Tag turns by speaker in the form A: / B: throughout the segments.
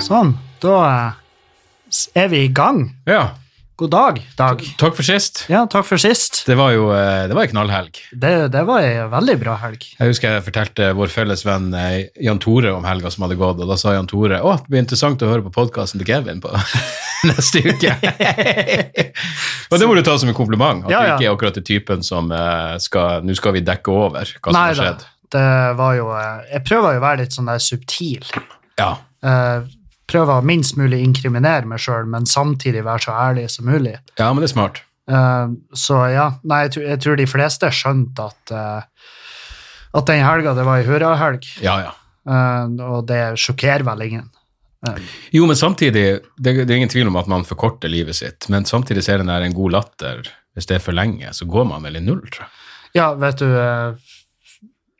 A: Sånn, da eh, er vi i gang.
B: Ja,
A: God dag, Dag.
B: takk for sist.
A: Ja, takk for sist.
B: Det var jo eh, det var en knallhelg.
A: Det, det var ei veldig bra helg.
B: Jeg husker jeg fortalte vår felles venn eh, Jan Tore om helga som hadde gått, og da sa Jan Tore å, det blir interessant å høre på podkasten til Kevin på neste uke. og det må du ta som en kompliment, at
A: Ja, ja.
B: du ikke er akkurat den typen som eh, skal Nå skal vi dekke over hva som har
A: Neida,
B: skjedd.
A: Det var jo eh, Jeg prøver jo å være litt sånn der subtil.
B: Ja.
A: Eh, Prøver å minst mulig inkriminere meg sjøl, men samtidig være så ærlig som mulig.
B: ja, men det er smart.
A: Eh, Så ja, nei, jeg tror, jeg tror de fleste skjønte at eh, at den helga det var ei hurrahelg,
B: Ja, ja.
A: Eh, og det sjokkerer vel ingen.
B: Jo, men samtidig, det, det er ingen tvil om at man forkorter livet sitt, men samtidig ser den der en god latter. Hvis det er for lenge, så går man vel i null, tror jeg.
A: Ja, vet du eh,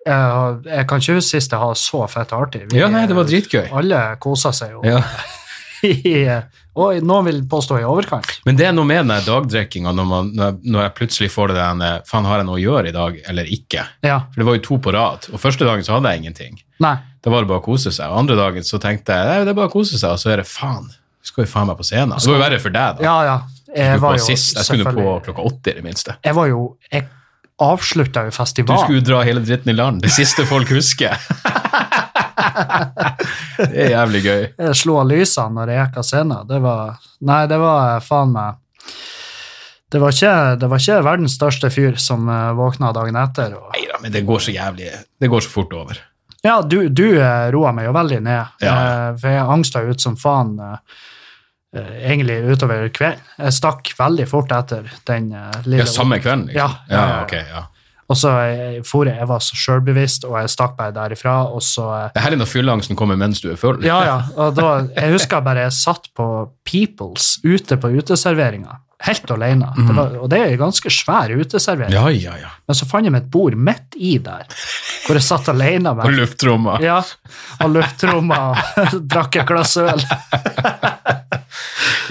A: jeg, har- jeg kan ikke huske sist jeg hadde så fett artig. Vi-
B: Ja, nei, det var dritgøy.
A: Alle kosa seg jo.
B: Ja.
A: i- eh, og noen vil påstå i overkant.
B: Men det er noe med den der dagdrikkinga når, man- når, jeg- når jeg plutselig får det der eh, Faen, har jeg noe å gjøre i dag, eller ikke?
A: Ja.
B: For det var jo to på rad, og første dagen så hadde jeg ingenting.
A: Nei.
B: Da var det bare å kose seg. Og andre dagen så tenkte jeg nei, det er bare å kose seg, og så er det faen. Skal vi faen meg på scenen? Det var jo verre for deg, da.
A: Ja, ja.
B: Du
A: Jeg
B: var
A: var jo
B: sist. Jeg skulle på
A: selvfølgelig-
B: klokka åtte, i det minste.
A: Jeg var jo Jeg avslutta jo
B: Du
A: festivalen.
B: skulle dra hele dritten i land. Det siste folk husker. det er jævlig gøy.
A: Jeg slo av lysene når jeg gikk av scenen. Det var Nei, det var eh, faen meg det var, ikke, det var ikke verdens største fyr som eh, våkna dagen etter. Og,
B: Neida, men det går så jævlig Det går så fort over.
A: Ja, du, du eh, roa meg jo veldig ned,
B: Ja.
A: eh, for jeg angsta ut som faen eh, eh, egentlig utover kvelden. Jeg stakk veldig fort etter den eh, lille
B: Ja, samme kvelden, liksom?
A: Ja, ja, ja.
B: ok, ja.
A: Og så eh, for jeg, jeg var så sjølbevisst, og jeg stakk bare derifra, og så eh,
B: Det er herlig når fylleangsten kommer mens du er full.
A: Ja, ja. Og da, jeg husker bare jeg satt på Peoples ute på uteserveringa, helt alene. Det var, og det er en ganske svær uteservering.
B: Mm. ja, ja. ja.
A: Men så fant jeg meg et bord midt i der, hvor jeg satt alene. med-
B: Og luftromma.
A: Ja, og lufttromma og drakk et glass øl.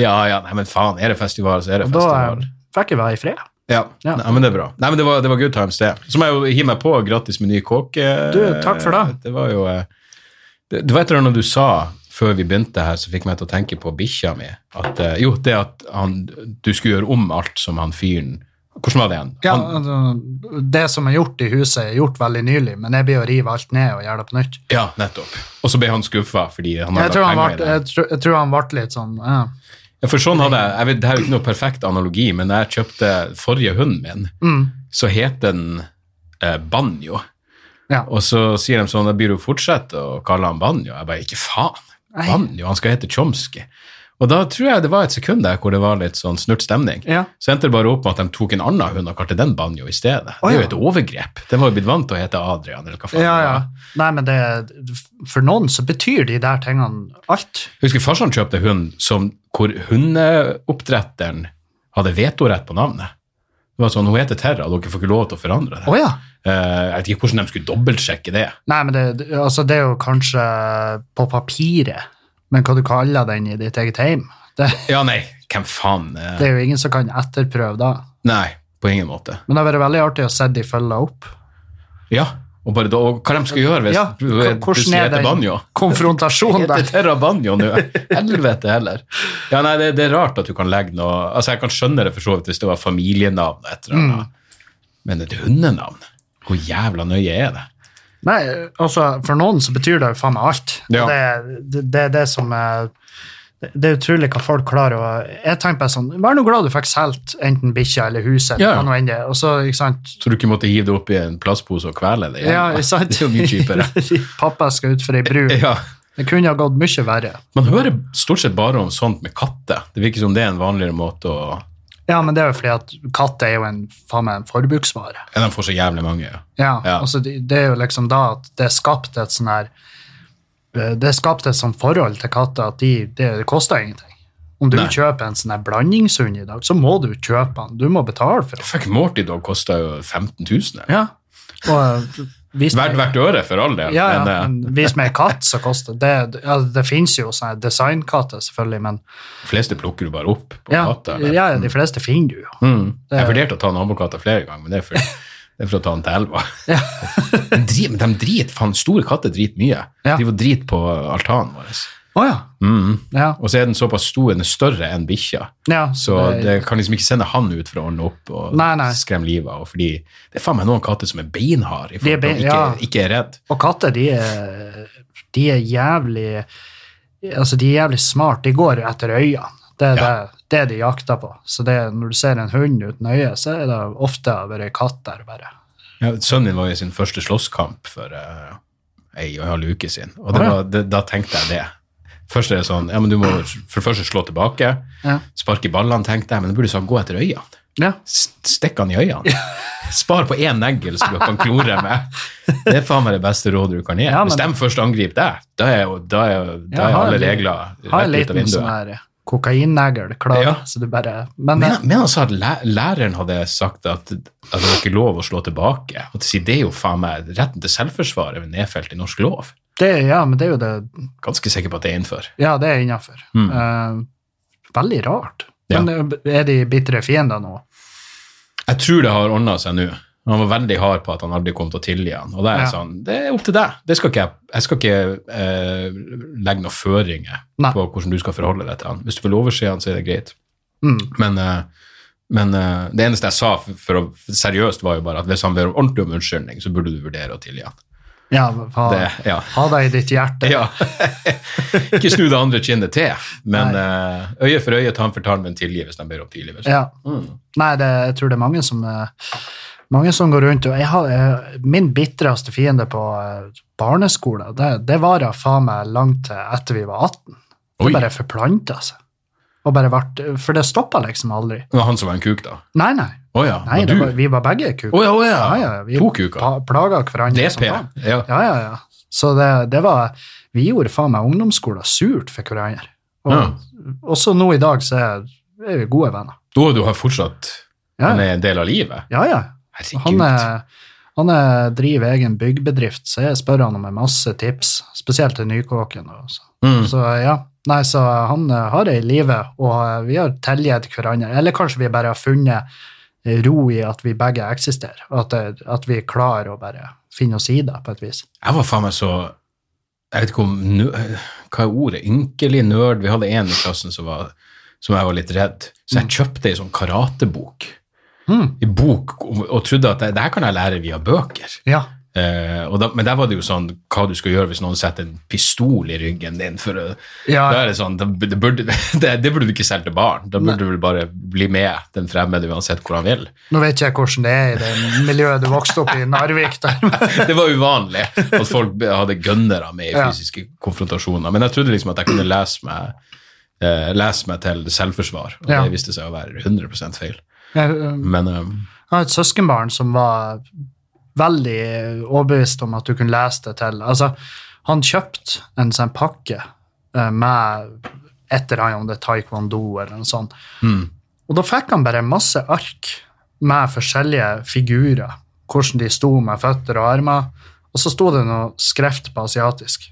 B: Ja, ja, nei, men faen, er det festival, så er det
A: Og da
B: festival.
A: eh, fikk jeg være i fred.
B: Ja.
A: ja.
B: Nei, men det er bra. Nei, men det var, det var good times, det. Så må jeg jo hive meg på gratis med ny kåke.
A: Du, takk for det.
B: Det var jo eh, Det, det var et eller annet du sa før vi begynte her, som fikk meg til å tenke på bikkja mi. At, eh, jo, det at han, du skulle gjøre om alt som han fyren Hvordan var det igjen?
A: Ja,
B: Han,
A: altså, det som er gjort i huset, er gjort veldig nylig, men jeg blir å rive alt ned og gjøre det på nytt.
B: ja nettopp. Og så ble han skuffa fordi han
A: Jeg
B: hadde
A: tror han
B: penger i
A: ble,
B: det.
A: jeg tror, jeg tror han ble litt sånn ja.
B: Ja, for sånn hadde jeg, jeg vet, Det her er jo ikke noe perfekt analogi, men da jeg kjøpte forrige hunden min,
A: Mm.
B: så het den eh, Banjo.
A: Ja.
B: Og så sier de sånn, da blir du fortsette å kalle han Banjo. Jeg bare, ikke faen.
A: Nei.
B: Banjo, han skal hete Chomsky. Og da tror jeg det var et sekund der hvor det var litt sånn snurt stemning.
A: Ja.
B: Så endte det bare opp med at de tok en annen hund og kalte den Banjo i stedet.
A: Å,
B: Det er
A: ja.
B: jo et overgrep. Den var jo blitt vant til å hete Adrian, eller hva faen.
A: Ja,
B: det
A: ja.
B: var.
A: Nei, men det, for noen så betyr de der tingene alt.
B: Jeg husker farsan kjøpte hund som, hvor hundeoppdretteren hadde vetorett på navnet. Det var sånn, Hun heter Terra, dere får ikke lov til å forandre det.
A: Å ja.
B: Eh, jeg vet ikke hvordan de skulle dobbeltsjekke det.
A: Nei, men det, det- altså, det er jo kanskje på papiret, men hva du kaller den i ditt eget hjem, det,
B: Ja, nei, hvem faen? eh,
A: det er jo ingen som kan etterprøve da.
B: Nei, på ingen måte.
A: Men det har vært veldig artig å se de følge opp.
B: Ja, og bare da, og hva de skal gjøre hvis
A: Ja,
B: du
A: hva-
B: plutselig
A: hvordan er den
B: heter Banjo?
A: konfrontasjonen
B: Heter
A: der?
B: Terra Banjo nå? Helvete heller. Ja, nei, det, det er rart at du kan legge noe Altså, jeg kan skjønne det for så vidt hvis det var familienavn, og et eller annet.
A: Mm.
B: men et hundenavn? Hvor jævla nøye er det?
A: Nei, altså, for noen så betyr det jo faen meg alt.
B: Ja.
A: Det, det, det er det som er det, det er utrolig hva folk klarer å Jeg tenker bare sånn Vær nå glad du fikk solgt enten bikkja eller huset, eller
B: Ja.
A: hva nå enn det er. Og så, ikke sant
B: Så du ikke måtte hive det oppi en plastpose og kvele det? igjen?
A: Ja, ikke sant?
B: Det er jo mye kjipere.
A: Pappa skal ut for ei bru.
B: Ja.
A: Det kunne ha gått mye verre.
B: Man hører stort sett bare om sånt med katter. Det virker som det er en vanligere måte å
A: Ja, men det er jo fordi at katt er jo en, faen meg en forbruksvare.
B: Ja, de får så jævlig mange. ja.
A: Ja,
B: Ja.
A: Altså, det, det er jo liksom da at det er skapt et sånn her eh, Det er skapt et sånn forhold til katter at de, det, det koster ingenting. Om du
B: Nei.
A: kjøper en sånn her blandingshund i dag, så må du kjøpe den. Du må betale for den.
B: Fuck, Morty Dog kosta jo 15 000. eller?
A: Ja. Og, eh, vis meg-
B: Hvert, hvert øre, for all del.
A: Ja, ja,
B: men, eh,
A: men hvis med en katt, så koster det Det, ja, det finnes jo sånne her designkatter, selvfølgelig, men
B: de fleste plukker du bare opp på
A: ja,
B: katta. eller?
A: ja, de fleste finner du jo.
B: Mm. Jeg vurderte å ta nabokatta flere ganger, men det er for, det er for å ta den til elva. de driter, men de driter, faen, store katter driter mye.
A: Ja.
B: De får drit på altanen vår.
A: Å ja.
B: Mm.
A: Ja.
B: Og så er den såpass stor, den er større enn bikkja.
A: ja.
B: Så det kan liksom ikke sende han ut for å ordne opp og
A: Nei, nei.
B: skremme livet av. Fordi det er faen meg noen katter som er beinharde i
A: De er bein-
B: forhold til å ikke,
A: ja.
B: ikke er redd.
A: Og katter, de er, de er jævlig Altså, de er jævlig smart. De går etter øynene. Det er
B: Ja.
A: det, det de jakter på. Så det, når du ser en hund uten øye, så er det ofte bare en katt der. bare.
B: Ja, sønnen min var i sin første slåsskamp for eh, ei og en halv uke siden, og det
A: Å, ja.
B: var, det, da tenkte jeg det. Først er det sånn, ja, men du må for det første slå tilbake,
A: Ja.
B: sparke i ballene, tenkte jeg, men du burde sånn gå etter øynene.
A: Ja.
B: S- Stikk han i øynene. Spar på én negl som du kan klore med. Det er faen meg det beste rådet du kan gi.
A: Ja, men-
B: Hvis de først angriper deg, da er, jo- da er,
A: Ja,
B: da er
A: ha
B: alle
A: en-
B: regler
A: Har en
B: rett ut av
A: liten sånn
B: vinduet.
A: her kokainnegl klar,
B: Ja.
A: så du bare Men,
B: Men, men altså at læ- læreren hadde sagt at, at det var ikke lov å slå tilbake. Og til å si, det er jo faen meg retten til selvforsvar er jo nedfelt i norsk lov.
A: det, ja, men det er jo det
B: Ganske sikker på at det er innenfor.
A: Ja, det er innafor.
B: Mm.
A: veldig rart.
B: Ja.
A: Men eh, er de bitre fiender nå?
B: Jeg tror det har ordna seg nå. Han var veldig hard på at han aldri kom til å tilgi han. Og det er
A: Ja.
B: sånn, det er opp til deg. Det skal ikke jeg, jeg skal ikke eh, legge noen føringer
A: Nei.
B: på hvordan du skal forholde deg til han. Hvis du vil overse han, så er det greit.
A: Mm.
B: Men, eh, men eh, det eneste jeg sa for, for å, seriøst, var jo bare at hvis han ber ordentlig om unnskyldning, så burde du vurdere å tilgi han.
A: Ja, men ha,
B: Det, ja.
A: ha deg i ditt hjerte.
B: Ja. ikke snu det andre kinnet til, men eh, øye for øye, tann for tann, men tilgi hvis de ber om tilgivelse.
A: Ja. Nei, det, jeg tror det er mange som, eh, mange som går rundt og jeg har, eh, Min bitreste fiende på eh, barneskolen, det, det varer faen meg langt til etter vi var 18.
B: Oi.
A: Det bare forplanta seg. Og bare vart, for det stoppa liksom aldri.
B: Det var han som var en kuk, da.
A: Nei, nei.
B: Å ja,
A: nei
B: og
A: det
B: du?
A: var, vi var begge kuker.
B: Å ja, å ja.
A: Ja, ja, vi
B: To kuker.
A: pa- Plaga hverandre. som
B: DP.
A: faen.
B: Ja.
A: Ja, ja, ja. Så det, det var Vi gjorde faen meg ungdomsskolen surt for hverandre. Og,
B: Ja.
A: Også nå i dag så er, er vi gode venner.
B: Da du har fortsatt
A: Ja,
B: Han
A: ja.
B: er en del av livet?
A: ja, ja.
B: Herregud.
A: Han, er, han er, driver egen byggbedrift, så jeg spør han om en masse tips, spesielt til Nykåken. Og så.
B: Mm.
A: så ja, nei, så han eh, har det i live, og eh, vi har tilgitt hverandre. Eller kanskje vi bare har funnet eh, ro i at vi begge eksisterer, og at, det- at vi klarer å bare finne oss i det på et vis.
B: Jeg var faen meg så Jeg vet ikke om nø, Hva er ordet? Ynkelig nerd. Vi hadde en i klassen som, var, som jeg var litt redd, så jeg kjøpte ei sånn karatebok.
A: Mm.
B: I bok, om- og trodde at det, det her kan jeg lære via bøker.
A: Ja,
B: Eh, og da, men der var det jo sånn hva du skal gjøre hvis noen setter en pistol i ryggen din. for å,
A: Ja.
B: da er Det sånn, da, bu- det, burde, det, det burde du ikke selge til barn. Da burde du vel bare bli med den fremmede uansett hvor han vil.
A: Nå vet ikke jeg hvordan det er i det miljøet du vokste opp i, Narvik. der.
B: Det var uvanlig at folk be- hadde gønnere med i
A: Ja.
B: fysiske konfrontasjoner. Men jeg trodde liksom at jeg kunne lese meg, eh, lese meg til selvforsvar, og
A: Ja.
B: det viste seg å være 100 feil.
A: Jeg, eh,
B: Men eh,
A: Jeg har et søskenbarn som var veldig overbevist om at du kunne lese det til. Altså, han kjøpte en sånn pakke eh, med et eller annet, om det er taekwondo eller noe sånt. Og da fikk han bare masse ark med forskjellige figurer, hvordan de sto med føtter og armer, og så sto det noe skreft på asiatisk.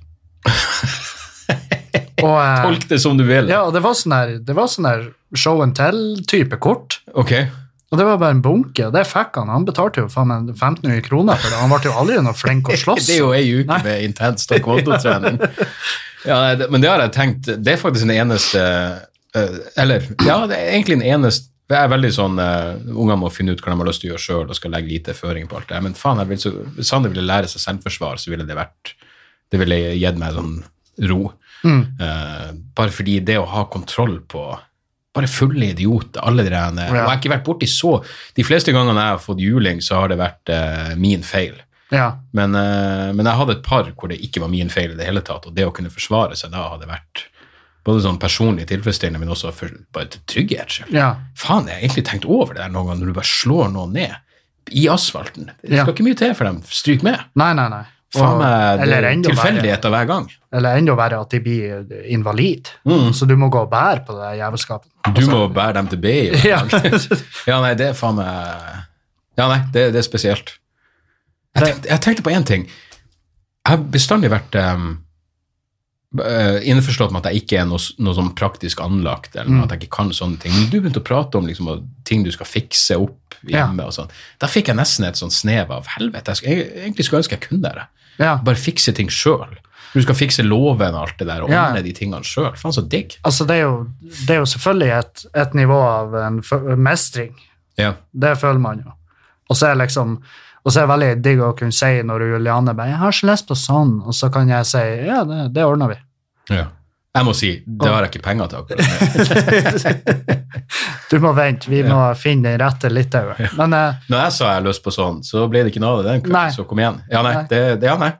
A: og, eh,
B: tolk det som du vil.
A: ja, og det var sånn der, det var sånn der show and tell-type kort.
B: Ok.
A: Og det var bare en bunke, og det fikk han. Han betalte jo faen meg 1500 kroner for det. Han ble jo aldri noe flink å slåss.
B: Det er jo ei uke med intens taekwondo-trening. ja, nei, det- men det har jeg tenkt Det er faktisk den eneste eh, Eller ja, det er egentlig den eneste jeg er veldig sånn, eh, Ungene må finne ut hva de har lyst til å gjøre sjøl og skal legge lite føring på alt det. her. Men faen, jeg vil så, hvis Sander ville lære seg selvforsvar, så ville det vært Det ville gitt meg sånn ro.
A: Mm,
B: Eh, bare fordi det å ha kontroll på bare fulle idioter, alle de der Og jeg har ikke vært borti så De fleste gangene jeg har fått juling, så har det vært eh, min feil.
A: Ja.
B: Men, eh, men jeg hadde et par hvor det ikke var min feil i det hele tatt, og det å kunne forsvare seg da hadde vært både sånn personlig tilfredsstillende, men også for, bare til trygghetsskyld.
A: Ja.
B: Faen, jeg har egentlig tenkt over det der noen ganger når du bare slår noen ned i asfalten. Det skal
A: Ja.
B: ikke mye til for dem. Stryk med.
A: Nei, nei, nei.
B: Faen meg det
A: eller
B: er
A: enda verre-
B: tilfeldigheter hver gang.
A: Eller enda verre at de blir invalid. Så du må gå og bære på det jævelskapet.
B: Mm. Du må bære dem til BI. hver
A: Altså- Ja.
B: gang. Ja, nei, det er faen meg Ja, nei, det, det er spesielt. Jeg tenkte, jeg tenkte på én ting. Jeg har bestandig vært em, eh, innforstått med at jeg ikke er noe, s- noe sånn praktisk anlagt, eller
A: Mm.
B: at jeg ikke kan sånne ting. Men du begynte å prate om liksom, at ting du skal fikse opp
A: Ja.
B: hjemme og sånn. Da fikk jeg nesten et sånn snev av helvete. Jeg, skulle- jeg egentlig skulle ønske jeg kunne det.
A: Ja.
B: Bare fikse ting sjøl. Du skal fikse låven og alt det der, og
A: Ja.
B: ordne de tingene sjøl. Faen, så digg.
A: Altså, det er jo, det er jo selvfølgelig et, et nivå av en f- mestring.
B: Ja.
A: Det føler man jo. Og så er liksom og så er det veldig digg å kunne si når Juliane bare 'Jeg har ikke lyst på sånn', og så kan jeg si 'Ja, det, det ordner vi'.
B: ja. Jeg må si, det har jeg ikke penger til akkurat nå.
A: Du må vente, vi må finne den rette litaueren. Men eh,
B: Når jeg sa jeg har lyst på sånn, så ble det ikke noe av det den
A: Nei.
B: kvelden. Så kom igjen. Ja, nei.
A: Nei.
B: Det, det, ja, nei.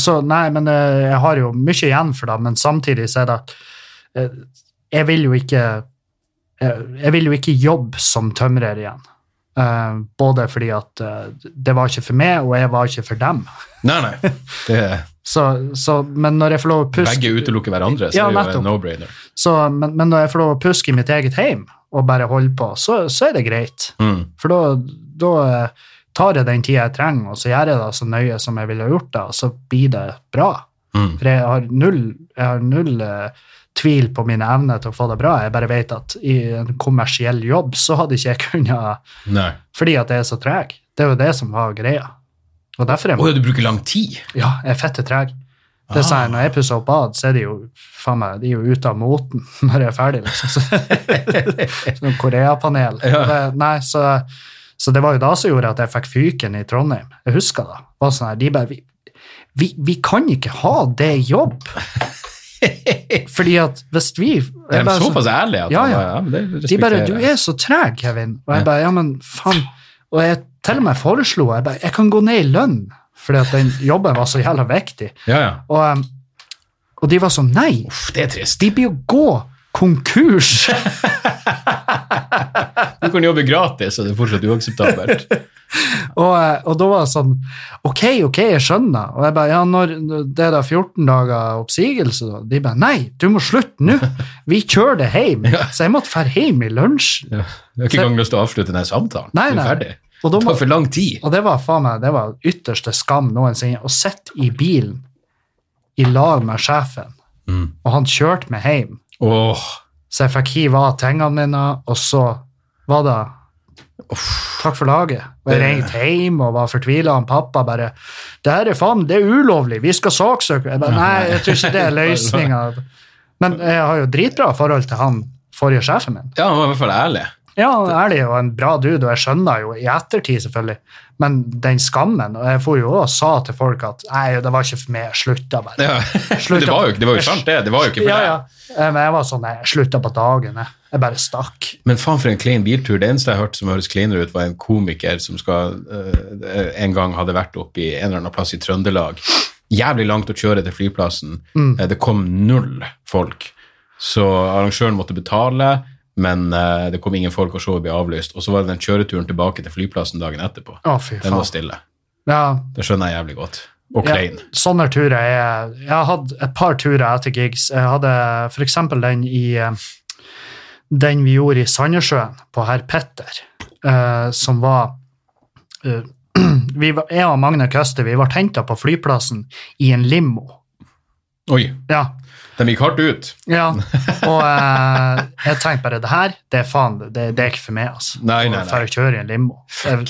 A: Så nei, men eh, jeg har jo mye igjen for det, men samtidig så er det at eh, jeg vil jo ikke jeg, jeg vil jo ikke jobbe som tømrer igjen. Eh, både fordi at eh, det var ikke for meg, og jeg var ikke for dem.
B: Nei, nei. Det,
A: Så, så, men når jeg får lov å puske,
B: begge utelukker hverandre, så
A: Ja,
B: det er jo
A: nettopp.
B: en no-brainer.
A: så, men, men når jeg får lov å puske i mitt eget hjem og bare holde på, så, så er det greit.
B: Mm.
A: For da, da eh, tar jeg den tida jeg trenger, og så gjør jeg det så nøye som jeg ville ha gjort det, og så blir det bra.
B: Mm.
A: For jeg har null, jeg har null eh, tvil på mine evner til å få det bra. Jeg bare vet at i en kommersiell jobb så hadde ikke jeg kunnet
B: Nei.
A: Fordi at jeg er så treg. Det er jo det som var greia. Og derfor er
B: Å ja, du bruker lang tid?
A: ja, jeg er fette treg. Det er sånn, Når jeg pusser opp bad, så er de jo faen meg, de er jo ute av moten når jeg er ferdig. liksom. Så- Sånn Koreapanel.
B: Ja.
A: Det- Nei, så, så det var jo da som gjorde at jeg fikk fyken i Trondheim. Jeg husker det. det var sånn her, de bare, vi, vi, vi kan ikke ha det i jobb! Fordi at hvis vi jeg
B: Er de
A: bare sånn-
B: såpass ærlige? At
A: Ja, ja.
B: han bare, ja, men det
A: de bare 'Du
B: respekterer
A: er
B: jeg.
A: så treg, Kevin.' Og jeg bare 'Ja, men faen.' Og jeg til og med foreslo jeg bare, 'Jeg kan gå ned i lønn', fordi at den jobben var så jævla viktig.
B: Ja, ja.
A: Og, um, og de var sånn Nei,
B: Uff, det er trist.
A: de blir jo gå konkurs!
B: Du kan jobbe gratis, og det er fortsatt uakseptabelt.
A: og, eh, og da var det sånn Ok, ok, jeg skjønner. Og jeg bare Ja, når det er da 14 dager oppsigelse, da? De bare Nei, du må slutte nå! Vi kjører det hjem! Så jeg måtte dra hjem i lunsjen.
B: Ja. Jeg har ikke engang lyst til å avslutte denne samtalen.
A: Nei,
B: Du er
A: nei.
B: ferdig.
A: Og da
B: Det
A: må-
B: tar for lang tid.
A: Og det var faen meg, det var ytterste skam noensinne. Å sitte i bilen i lag med sjefen, og han kjørte meg hjem,
B: Åh,
A: så jeg fikk hive av tingene mine, og så var det Takk for laget. Og jeg ringte hjem og var fortvila. Han pappa bare 'Det her er faen, det er ulovlig. Vi skal saksøke.' Jeg bare, Nei, jeg tror ikke det er løsninga. Men jeg har jo dritbra forhold til han forrige sjefen min.
B: Ja, han var i hvert fall ærlig.
A: Ja, han er ærlig og en bra dude, og jeg skjønner jo i ettertid, selvfølgelig, men den skammen Og jeg for jo også og sa til folk at nei, det var ikke for meg, jeg slutta bare.
B: Ja.
A: Slutt
B: Det var jo,
A: opp.
B: det var jo sant, det. Det var jo ikke for
A: Ja,
B: deg.
A: ja. Eh, Men jeg var sånn, nei, jeg slutta på dagen, jeg. Jeg bare stakk.
B: Men faen for en klein biltur. Det eneste jeg hørte som høres kleinere ut, var en komiker som skal, eh, en gang hadde vært oppe i en eller annen plass i Trøndelag. Jævlig langt å kjøre til flyplassen.
A: Mm.
B: Eh, det kom null folk. Så arrangøren måtte betale, men eh, det kom ingen folk, og showet ble avlyst. Og så var det den kjøreturen tilbake til flyplassen dagen etterpå.
A: Å, fy
B: Den var
A: faen.
B: stille.
A: Ja,
B: Det skjønner jeg jævlig godt. Og
A: ja.
B: klein.
A: Sånne turer er Jeg har hatt et par turer etter gigs. Jeg hadde for eksempel den i eh, Den vi gjorde i Sandnessjøen, på Herr Petter, eh, som var eh, vi var, Jeg og Magne Køste vi ble henta på flyplassen i en limo.
B: Oi,
A: Ja,
B: de gikk hardt ut.
A: ja. Og eh, jeg tenkte bare det her, det er faen, det, det er ikke for meg, altså.
B: Nei, nei, nei.
A: For å kjøre i en limo. Jeg,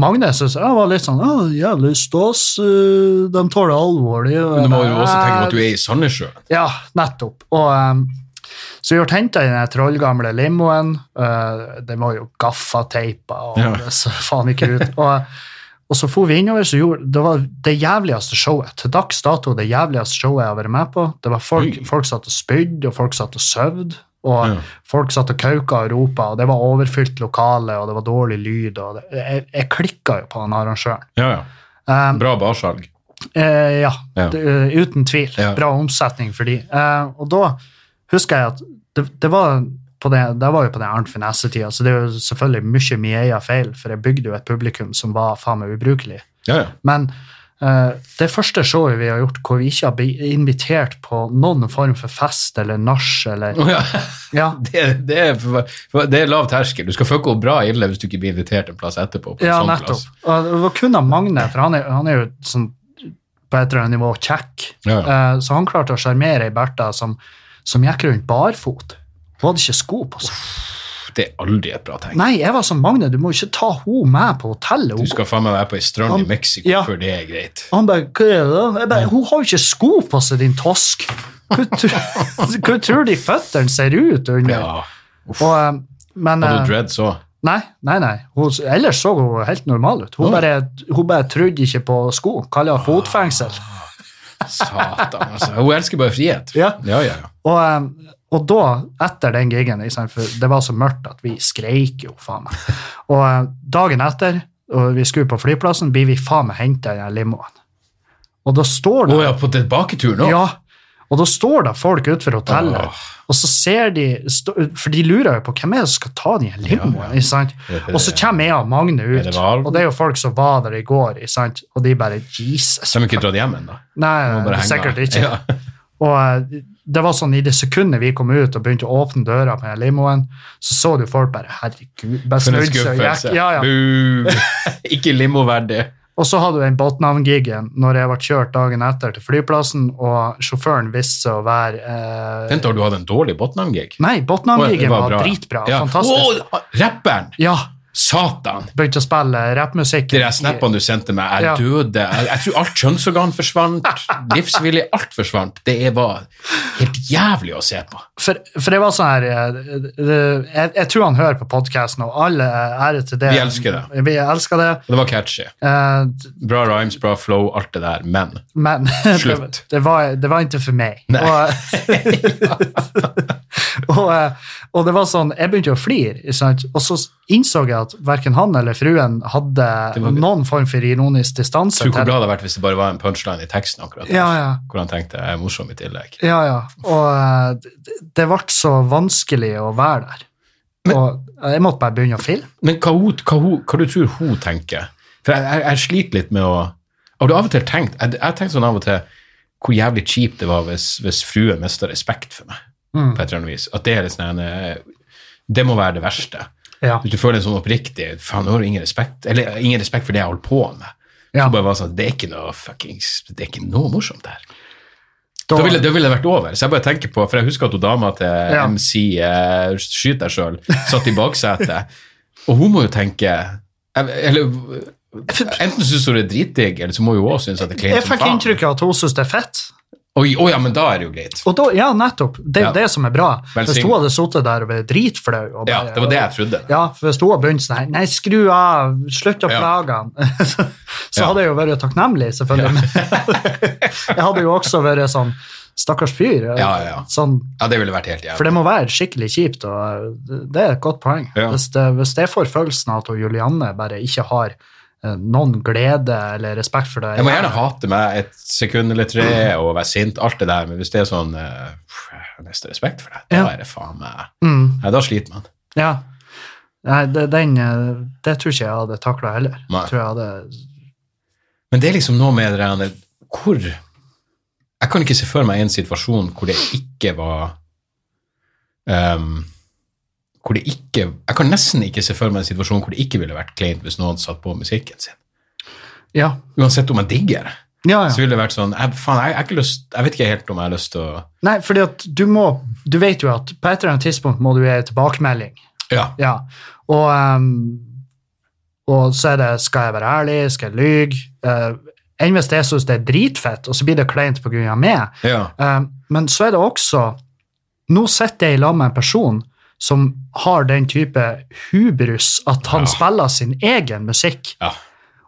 A: Magne syntes jeg var litt sånn Å, jævlig stas, eh, de tar det alvorlig. og
B: Men
A: jeg
B: du må
A: bare,
B: jo også tenke på at du
A: "Eh,
B: er i Sandnessjøen.
A: Ja, nettopp. Og um, så jeg henta i den trollgamle Eh, limoen. Uh, den var jo gaffateipa og
B: Ja.
A: det så faen ikke ut. Og, Og så for vi innover, så gjorde det var det jævligste showet. Til dags dato det jævligste showet jeg har vært med på. Det var folk,
B: Oi.
A: folk satt og spydde, og folk satt og søvde, og
B: Ja.
A: folk satt og kauka og ropa, og det var overfylt lokale, og det var dårlig lyd, og det, jeg, jeg klikka jo på han arrangøren.
B: Ja, ja.
A: Um,
B: Bra barsalg.
A: Eh, ja,
B: Ja.
A: Det, eh, uten tvil.
B: Ja.
A: Bra omsetning for de. Eh, og da husker jeg at det, det var på det, det var jo på den Arnt Finesse-tida, så det er jo selvfølgelig mye min egen feil, for jeg bygde jo et publikum som var faen meg ubrukelig.
B: Ja, ja.
A: Men eh, det første showet vi har gjort hvor vi ikke har blitt invitert på noen form for fest eller nach eller
B: Å, ja.
A: Ja,
B: Det, det, er, for- for- det er lav terskel. Du skal fucke opp bra ille hvis du ikke blir invitert en plass etterpå. På en
A: ja
B: sånn
A: nettopp.
B: plass.
A: Og det var kun av Magne, for han er, han er jo sånn på et eller annet nivå kjekk.
B: Ja, ja.
A: Eh, Så han klarte å sjarmere ei Bertha som, som gikk rundt barfot. Hun hadde ikke sko på seg.
B: Det er aldri et bra tegn.
A: Nei, jeg var som Magne, du må jo ikke ta hun med på hotellet.
B: Du
A: Hun,
B: skal faen meg være på ei strand i
A: Han-
B: Mexico
A: Ja.
B: før det er greit.
A: han bare, hva er det? da?" Jeg bare, hun har jo ikke sko på seg, din tosk. Hva tror- hva tror de føttene ser ut under?
B: Ja.
A: Og, eh, men,
B: Hadde
A: eh,
B: du dreads òg?
A: nei, nei, nei. Hun, ellers så hun helt normal ut. Hun
B: Oi.
A: bare, hun bare trodde ikke på sko. Kaller det fotfengsel.
B: Satan, altså. Hun elsker bare frihet.
A: Ja.
B: ja, ja. ja.
A: Og, eh, og da, etter den gigen, ikke sant, for det var så mørkt at vi skreik jo, faen meg. Og eh, dagen etter, og vi skulle på flyplassen, blir vi faen meg henta i den limoen. Og da står det
B: Å ja, på tilbaketur nå?
A: Ja, og da står det folk utenfor hotellet,
B: Åh.
A: og så ser de stå- For de lurer jo på hvem er det som skal ta den i limoen.
B: Ja, ja.
A: ikke sant? Og så kommer jeg og Magne
B: Er
A: ut,
B: det Valden?
A: og det er jo folk som var der i går, ikke sant? og de bare Jesus.
B: Så har de ikke dratt hjem ennå?
A: Nei,
B: De må bare henge.
A: sikkert ikke.
B: Ja.
A: Og eh, det var sånn, I det sekundet vi kom ut og begynte å åpne døra på den limoen, så så du folk bare Herregud. bare
B: For en
A: snudde seg og
B: skuffelse.
A: gikk. Ja, ja.
B: Bu! ikke limoverdig.
A: Og så hadde du den båtnavngigen når jeg ble kjørt dagen etter til flyplassen, og sjåføren viste seg å være eh,
B: Vent, har du hatt en dårlig Botnam-gig?
A: Nei, båtnavngigen var, dritbra.
B: Ja.
A: Fantastisk.
B: Å, rapperen!
A: Ja.
B: Satan!
A: Begynte å spille rappmusikk.
B: De der snappene du sendte meg, jeg
A: Ja.
B: døde. Jeg, jeg tror alt kjønnsorgan forsvant. Livsvilje, alt forsvant. Det er- var helt jævlig å se på.
A: For, for det var sånn her eh, det- jeg, jeg tror han hører på podkasten, og alle eh, ære til det.
B: Vi elsker
A: det. Vi elsker det.
B: Og det var catchy.
A: Eh,
B: Bra rhymes, bra flow, alt det der. Men
A: Men det,
B: Slutt.
A: det, var, det var ikke for meg.
B: Nei.
A: Og, og, eh, og det var sånn, jeg begynte å flire, ikke sant? og så innså jeg at verken han eller fruen hadde
B: Det var-
A: noen form for ironisk distanse.
B: tror du
A: til-
B: hvor glad det hadde vært hvis det bare var en punchline i teksten akkurat der,
A: Ja, ja.
B: hvor han tenkte jeg er morsom i tillegg.
A: Ja, ja. Og eh, det, det ble så vanskelig å være der. og eh, jeg måtte bare begynne å filme.
B: Men hva, hun, hva, hun, hva du tror hun tenker? For jeg, jeg, jeg sliter litt med å Har du av og til tenkt Jeg, jeg tenker sånn av og til hvor jævlig kjipt det var hvis, hvis fruen mista respekt for meg.
A: Mm.
B: på et eller annet vis. At det er litt sånn en, eh, Det må være det verste.
A: Ja.
B: Hvis du føler en sånn oppriktig Faen, nå har du ingen respekt Eller ingen respekt for det jeg holder på med.
A: Ja.
B: Så bare var det sånn, Det er ikke noe fuckings Det er ikke noe morsomt der.
A: Da-
B: Da ville det ville vært over. Så jeg bare tenker på For jeg husker at hun dama til
A: Ja.
B: MC eh, Skyt deg sjøl satt i baksetet, og hun må jo tenke eh, Eller Enten syns hun det er dritdigg, eller så må hun òg synes at det
A: jeg
B: er kleint som
A: fikk
B: faen.
A: inntrykk av at hun syntes det er fett.
B: Oi, Å ja, men da er det jo greit.
A: Og da, ja, nettopp. Det er jo
B: Ja.
A: det som er bra.
B: Velsign.
A: Hvis hun hadde sittet der og vært dritflau og
B: Ja,
A: bare-
B: det var det jeg trodde.
A: Ja, for hvis hun hadde begynt sånn her Nei, skru av, slutt å
B: Ja.
A: plage han. så
B: Ja.
A: hadde jeg jo vært takknemlig, selvfølgelig. Men jeg hadde jo også vært sånn Stakkars fyr.
B: Ja, ja, ja.
A: Sånn,
B: Ja, det ville vært helt jævlig.
A: for det må være skikkelig kjipt, og det er et godt poeng.
B: Ja.
A: Hvis, det, hvis det får følelsen av at hun Julianne bare ikke har eh, noen glede eller respekt for det
B: Jeg må gjerne hate meg et sekund eller tre og være sint, alt det der, men hvis det er sånn eh, pff, Jeg har nesten respekt for deg, da
A: Ja.
B: er det faen meg
A: Mm,
B: Nei, da sliter man.
A: ja. Nei, det, den, eh, det tror ikke jeg hadde takla heller.
B: Nei.
A: Jeg tror jeg hadde
B: Men det er liksom noe med det der Hvor Jeg kan ikke se for meg en situasjon hvor det ikke var ehm, Hvor det ikke Jeg kan nesten ikke se for meg en situasjon hvor det ikke ville vært kleint hvis noen satt på musikken sin.
A: Ja,
B: Uansett om jeg digger det.
A: ja. ja.
B: Så ville det vært sånn jeg, faen, jeg, jeg, har ikke lyst, jeg vet ikke helt om jeg har lyst til å
A: Nei, fordi at du må Du vet jo at på et eller annet tidspunkt må du gi en tilbakemelding.
B: Ja.
A: Ja. Og, ehm, og så er det Skal jeg være ærlig? Skal jeg lyge? Uh, Enn hvis jeg syns det er dritfett, og så blir det kleint pga. meg.
B: ja.
A: Ehm, men så er det også Nå sitter jeg i lag med en person som har den type hubris at han
B: Ja.
A: spiller sin egen musikk.
B: Ja.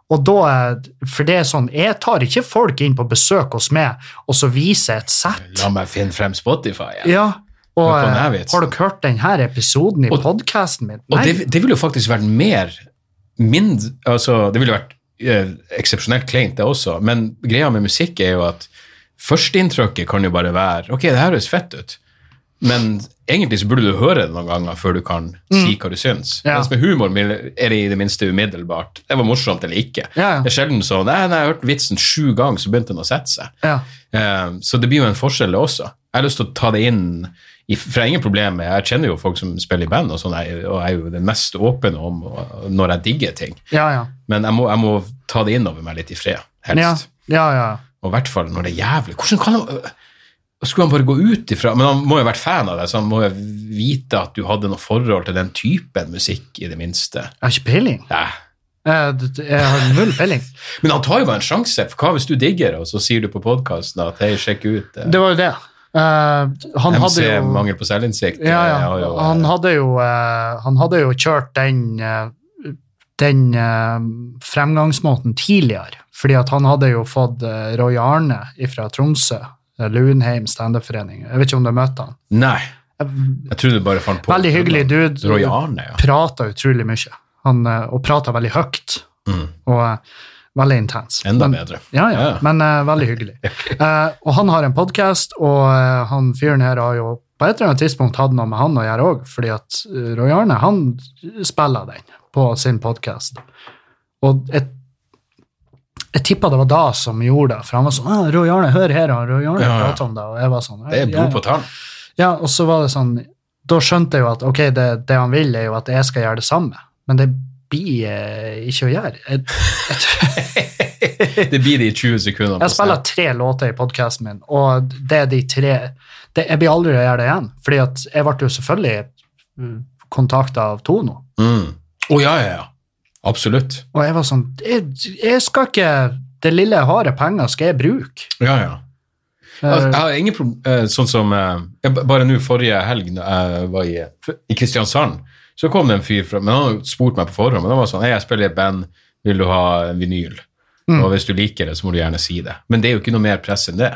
A: Og da, eh, for det er sånn, Jeg tar ikke folk inn på besøk hos meg og så viser jeg et sett.
B: La meg finne frem Spotify. Ja.
A: Ja, og
B: Hør på den
A: eh,
B: her vitsen.
A: Har dere hørt denne episoden i
B: Og-
A: podkasten min?
B: Og det, det ville jo faktisk vært mer mindre, altså Det ville vært eh, eksepsjonelt kleint, det også, men greia med musikk er jo at førsteinntrykket kan jo bare være Ok, det her høres fett ut, men egentlig så burde du høre det noen ganger før du kan si hva du syns.
A: Mm. Ja.
B: Mens med humor er det i det minste umiddelbart. Det var morsomt eller ikke.
A: Ja, ja.
B: Det er sjelden sånn Nei, nei, jeg hørte vitsen sju ganger, så begynte den å sette seg.
A: Ja.
B: Eh, Så det blir jo en forskjell det også. Jeg har lyst til å ta det inn, i- for jeg har ingen problemer. Jeg kjenner jo folk som spiller i band, og, sånn, jeg- og jeg er jo den mest åpne om og- når jeg digger ting.
A: Ja, ja.
B: Men jeg må, jeg må ta det inn over meg litt i fred, helst.
A: Ja, ja, ja.
B: Og i hvert fall når det er jævlig. Hvordan kan han øh, Skulle han bare gå ut ifra Men han må jo ha vært fan av deg, så han må jo vite at du hadde noe forhold til den typen musikk, i det minste.
A: Jeg har ikke peiling.
B: Nei.
A: Eh, d- d- Jeg har null peiling.
B: Men han tar jo bare en sjanse. For hva hvis du digger det, og så sier du på podkasten at hei, sjekk ut eh,
A: Det var jo det. Eh, han
B: MC,
A: hadde jo
B: mangel på selvinnsikt.
A: Ja,
B: eh, har
A: ja.
B: jo, eh,
A: Han hadde jo, eh, han hadde jo kjørt den, eh, den eh, fremgangsmåten tidligere. Fordi at han hadde jo fått eh, Roy Arne fra Tromsø, eh, Lunheim standup-forening. Jeg vet ikke om du møtte han.
B: Nei. Jeg tror du bare fant på
A: Eh, Veldig hyggelig dude.
B: Roy Arne, ja.
A: Prata utrolig mye. Han, eh, og prata veldig høyt. Og eh, veldig intens.
B: Mm. Enda
A: Men-
B: bedre.
A: Ja, ja,
B: Ja, ja.
A: men eh, veldig hyggelig. Eh, og han har en podkast, og eh, han fyren her har jo på et eller annet tidspunkt hatt noe med han å gjøre òg, fordi at eh, Roy Arne han spiller den på sin podkast. Og jeg, jeg tippa det var da som gjorde det, for han var sånn ah, 'Roy Arne, hør her', og Roy Arne
B: Ja, ja.
A: prater om det, og jeg var sånn
B: Det er blod på tann.
A: ja, og så var det sånn Da skjønte jeg jo at ok, det, det han vil, er jo at jeg skal gjøre det samme, men det blir eh, ikke å gjøre. Jeg, jeg,
B: Det blir de 20 sekundene. på
A: jeg spiller
B: scenen.
A: tre låter i podkasten min, og det er de tre det, Jeg blir aldri å gjøre det igjen, fordi at jeg ble jo selvfølgelig kontakta av Tono.
B: Mm. Å, ja, ja, ja. Absolutt.
A: Og jeg var sånn Jeg, jeg skal ikke Det lille jeg har av penger, skal jeg bruke.
B: Ja, ja.
A: Eh.
B: Jeg jeg har ingen problem, sånn som eh, jeg b- Bare nå forrige helg når jeg var i, i Kristiansand, så kom det en fyr fra Men han hadde spurt meg på forhånd, men han var sånn Hei, jeg spiller i et band, vil du ha en vinyl?
A: Mm.
B: Og hvis du liker det, så må du gjerne si det. Men det er jo ikke noe mer press enn det.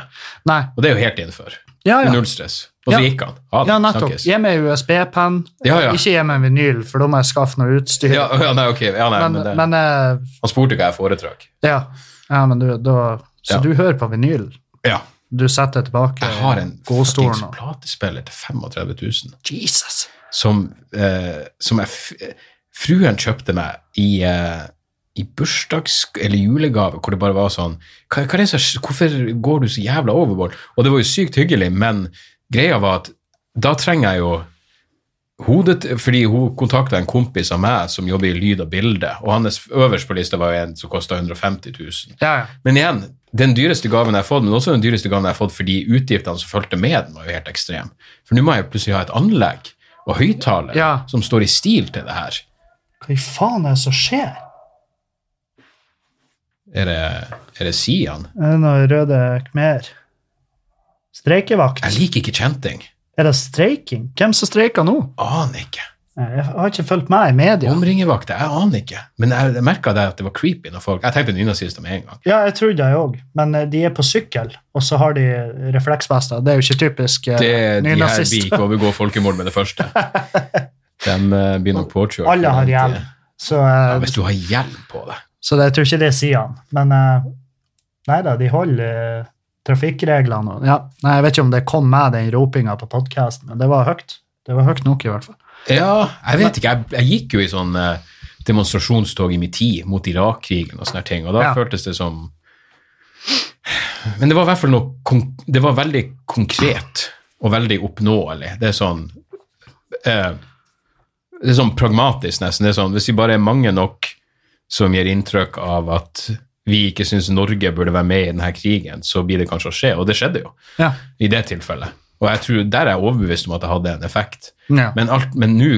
A: Nei.
B: Og det er jo helt innenfor.
A: Ja, ja.
B: Null stress. Og
A: Ja.
B: så gikk han. Ha det.
A: Ja, nettopp.
B: Snakkes.
A: Gi meg USB-penn.
B: Ja, ja.
A: Ikke gi meg en vinyl, for da må jeg skaffe noe utstyr.
B: Ja, ja, nei, ok. Ja, nei, men,
A: men,
B: det,
A: men eh,
B: han spurte hva jeg foretrakk.
A: ja. ja, men du, da Så
B: Ja.
A: du hører på vinyl?
B: Ja.
A: Du setter tilbake
B: Jeg har en
A: godstolen
B: fuckings
A: og-
B: platespiller til 35 000
A: Jesus!
B: som, eh, som jeg, f- fruen kjøpte meg i, eh, i bursdags- eller julegave, hvor det bare var sånn hva, hva er det som, Hvorfor går du så jævla overboard? Og det var jo sykt hyggelig, men greia var at da trenger jeg jo hodet, fordi hun kontakta en kompis av meg som jobber i lyd og bilde, og hans øverst på lista var jo en som kosta 150 000.
A: Ja, ja.
B: Men igjen, den dyreste gaven jeg har fått, men også den dyreste gaven jeg har fått fordi utgiftene som fulgte med den, var jo helt ekstrem. For nå må jeg jo plutselig ha et anlegg og høyttaler
A: Ja.
B: som står i stil til det her.
A: Hva i faen er det som skjer?
B: Er det, er det Sian?
A: Er det noe Røde Khmer? Streikevakt?
B: Jeg liker ikke kjenting.
A: Er det streiking? Hvem som streiker nå?
B: Aner ikke.
A: Nei, Jeg har ikke fulgt med i media.
B: Omringevakter, jeg aner ikke. Men jeg, jeg merka at det var creepy når folk Jeg tenkte nynazister med en gang.
A: Ja, jeg trodde jeg òg, men eh, de er på sykkel, og så har de refleksvester. Det er jo ikke typisk eh,
B: Det, de her vil
A: nynazister.
B: ikke overgå folkemord med det første. De eh, blir nok påkjørt.
A: Alle har hjelm, så, eh,
B: Ja, hvis du har hjelm på deg.
A: så det, jeg tror ikke det sier han. Men eh, nei da, de holder eh, trafikkreglene. og- Ja. Nei, jeg vet ikke om det kom med den ropinga på podkasten, men det var høyt. Det var høyt nok, i hvert fall.
B: Ja, jeg vet ikke. Jeg, jeg gikk jo i sånn eh, demonstrasjonstog i min tid mot Irak-krigen og sånne ting, og da
A: Ja.
B: føltes det som Men det var i hvert fall noe kon- Det var veldig konkret og veldig oppnåelig. Det er sånn eh, Det er sånn pragmatisk, nesten. Det er sånn, hvis vi bare er mange nok som gir inntrykk av at vi ikke syns Norge burde være med i denne krigen, så blir det kanskje å skje. Og det skjedde jo
A: Ja.
B: i det tilfellet. Og jeg tror, der er jeg overbevist om at det hadde en effekt.
A: Ja.
B: Men alt, men nå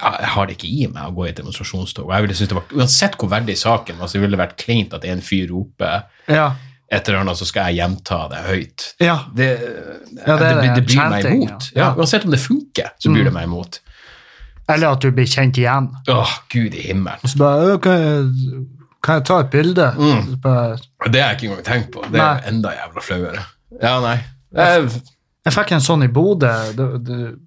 B: jeg har det ikke i meg å gå i et demonstrasjonstog. og Jeg ville synes det var, uansett hvor verdig saken var, så ville det vært kleint at en fyr roper
A: Ja.
B: et eller annet, så skal jeg gjenta det høyt.
A: Ja.
B: Det,
A: Ja, det er
B: det, blir- det
A: det.
B: blir meg
A: Chanting,
B: imot.
A: ja. Mm.
B: Ja, uansett om det funker, så blir det meg imot.
A: Eller at du blir kjent igjen.
B: Åh, Gud i himmelen.
A: Så bare, «Ø, hva, Kan jeg ta et bilde? Bare-
B: Det har jeg ikke engang tenkt på. Det er
A: Nei. enda
B: enda jævla flauere. Ja, nei. Jeg,
A: Jeg fikk en sånn i Bodø. Det- det-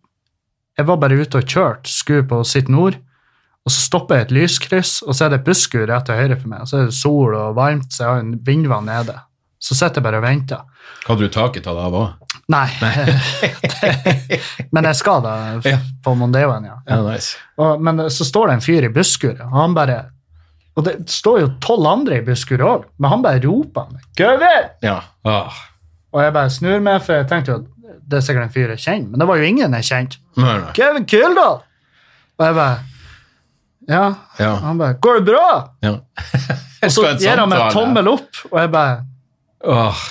A: Jeg var bare ute og kjørte, skulle på sitt nord, og så stopper jeg et lyskryss, og så er det et busskur rett til høyre for meg, og så er det sol og varmt, så jeg har en vindvann nede. Så sitter jeg bare og venter.
B: hadde du taket av det av òg?
A: Nei. men jeg skal da
B: Ja.
A: på Mondeoen, ja.
B: Ja, nice.
A: Og, men så står det en fyr i busskuret, og han bare Og det står jo tolv andre i busskuret òg, men han bare roper meg. Gøver!
B: Ja. Ah.
A: Og jeg bare snur meg, for jeg tenkte jo at det er sikkert en fyr jeg kjenner, men det var jo ingen jeg kjente.
B: Nei, nei.
A: Kevin Kildahl! Og jeg bare Ja.
B: Ja.
A: Og han bare Går det bra?
B: ja.
A: Og så gir han meg tommel opp, og jeg bare
B: Åh.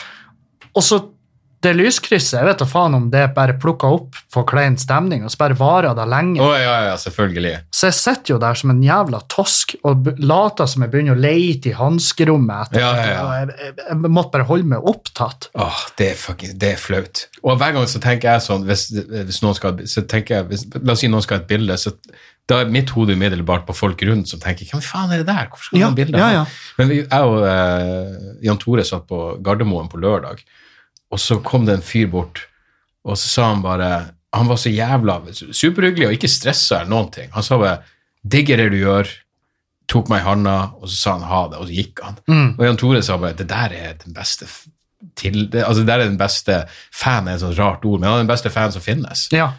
A: Og så det lyskrysset, jeg vet da faen om det bare plukka opp for klein stemning, og så bare varer det lenge.
B: Å, ja, ja, selvfølgelig.
A: Så jeg sitter jo der som en jævla tosk og b- later som jeg begynner å leite i hanskerommet etter
B: Ja, ja, ja.
A: og Jeg, jeg, jeg måtte bare holde meg opptatt.
B: Åh, det er, fucking, det er flaut. Og hver gang så tenker jeg sånn hvis, hvis noen skal, så tenker jeg, hvis, La oss si noen skal ha et bilde, så da er mitt hode umiddelbart på folk rundt som tenker Hvem faen er det der? Hvorfor skal du
A: Ja,
B: ha et bilde? av
A: ja,
B: han?»
A: ja.
B: Men vi, jeg og eh, Jan Tore satt på Gardermoen på lørdag, og så kom det en fyr bort, og så sa han bare Han var så jævla superhyggelig og ikke stressa eller noen ting. Han sa bare 'Digger det du gjør', tok meg i handa, og så sa han ha det, og så gikk han.
A: Mm.
B: Og Jan Tore sa bare det der er den beste f- til, det, altså det der er den beste fan er et sånt rart ord, men han er den beste fan som finnes.
A: Ja.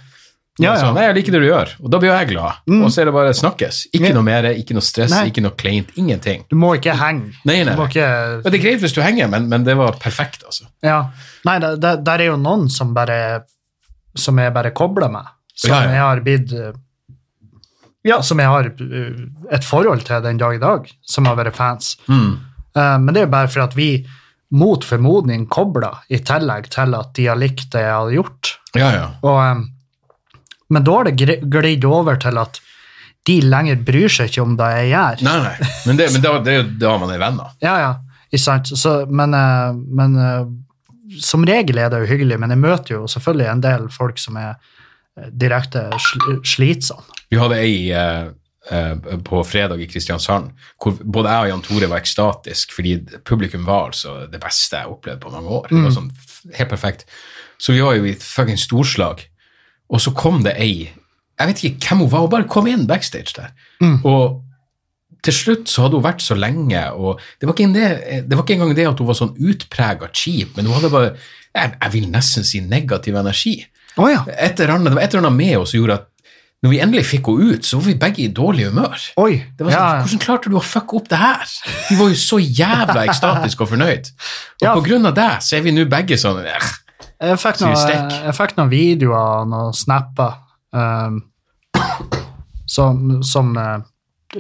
A: Ja,
B: Og så sa han,
A: ja.
B: Nei, jeg liker det du gjør, og da blir jo jeg glad. Og så er det bare snakkes. Ikke
A: Mm. Ja.
B: noe mer, ikke noe stress,
A: Nei.
B: ikke noe kleint, ingenting.
A: Du må ikke henge.
B: Nei, nei.
A: Du må ikke
B: Men det er greit hvis du henger, men, men det var perfekt, altså.
A: Ja. Nei, det, det, der er jo noen som bare som jeg bare kobler med. Som
B: Ja, ja.
A: jeg har blitt eh, Ja, som jeg har eh, et forhold til den dag i dag, som har vært fans.
B: Hmm.
A: Eh, men det er jo bare for at vi mot formodning kobler, i tillegg til at de har likt det jeg har gjort.
B: Ja, ja.
A: Og, eh, men da har det gri- glidd over til at de lenger bryr seg ikke om det jeg gjør.
B: Nei, nei. Men det, men da, det er jo da man er venner.
A: Ja, ja, ikke sant. Så, men eh, men eh, som regel er det jo hyggelig, men jeg møter jo selvfølgelig en del folk som er eh, direkte sl slitsomme.
B: Vi hadde ei eh, eh, på fredag i Kristiansand hvor både jeg og Jan Tore var ekstatisk fordi publikum var altså det beste jeg opplevde på mange år. Det var sånn f- helt perfekt. Så vi var jo i et fucking storslag, og så kom det ei Jeg vet ikke hvem hun var, hun bare kom inn backstage der. Og til slutt så hadde hun vært så lenge, og det var ikke, en det, det var ikke engang det at hun var sånn utprega kjip, men hun hadde bare jeg, jeg vil nesten si negativ energi
A: Å ja.
B: et eller annet, det var et eller annet med oss som gjorde at når vi endelig fikk henne ut, så var vi begge i dårlig humør.
A: Oi.
B: Det var sånn,
A: ja,
B: Hvordan klarte du å fucke opp det her? Vi var jo så jævla ekstatiske og fornøyd. Og
A: Ja.
B: på grunn av deg så er vi nå begge sånn eh,
A: jeg, fikk
B: Sier
A: noe,
B: stekk.
A: jeg fikk noen videoer og noen snapper ehm, som, som eh,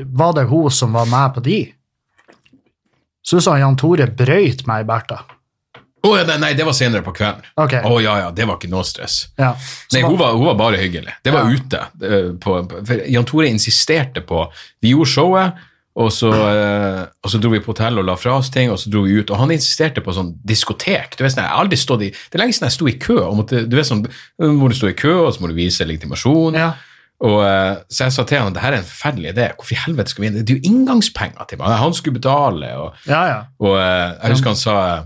A: Var det hun som var med på de? Så du sa Jan Tore brøyt meg i Bertha.
B: Å ja, nei, nei, det var senere på kvelden. Å
A: Ok.
B: ja, ja, det var ikke noe stress.
A: Ja.
B: Nei,
A: Så-
B: hun var, hun var bare hyggelig. Det var
A: Ja.
B: ute. eh, På, på- for Jan Tore insisterte på Vi gjorde showet, og så, eh, og så dro vi på hotell og la fra oss ting, og så dro vi ut. Og han insisterte på sånn diskotek. Du vet, sånn, jeg har aldri stått i, det er lenge siden jeg sto i kø. Og måtte, du vet sånn, må du stå i kø, og så må du vise legitimasjon.
A: Ja.
B: Og, eh, så jeg sa til han at det her er en forferdelig idé. Hvorfor i helvete skal vi inn? Det er jo inngangspenger til meg. Han skulle betale. og...
A: ja, ja.
B: Og eh, jeg husker han sa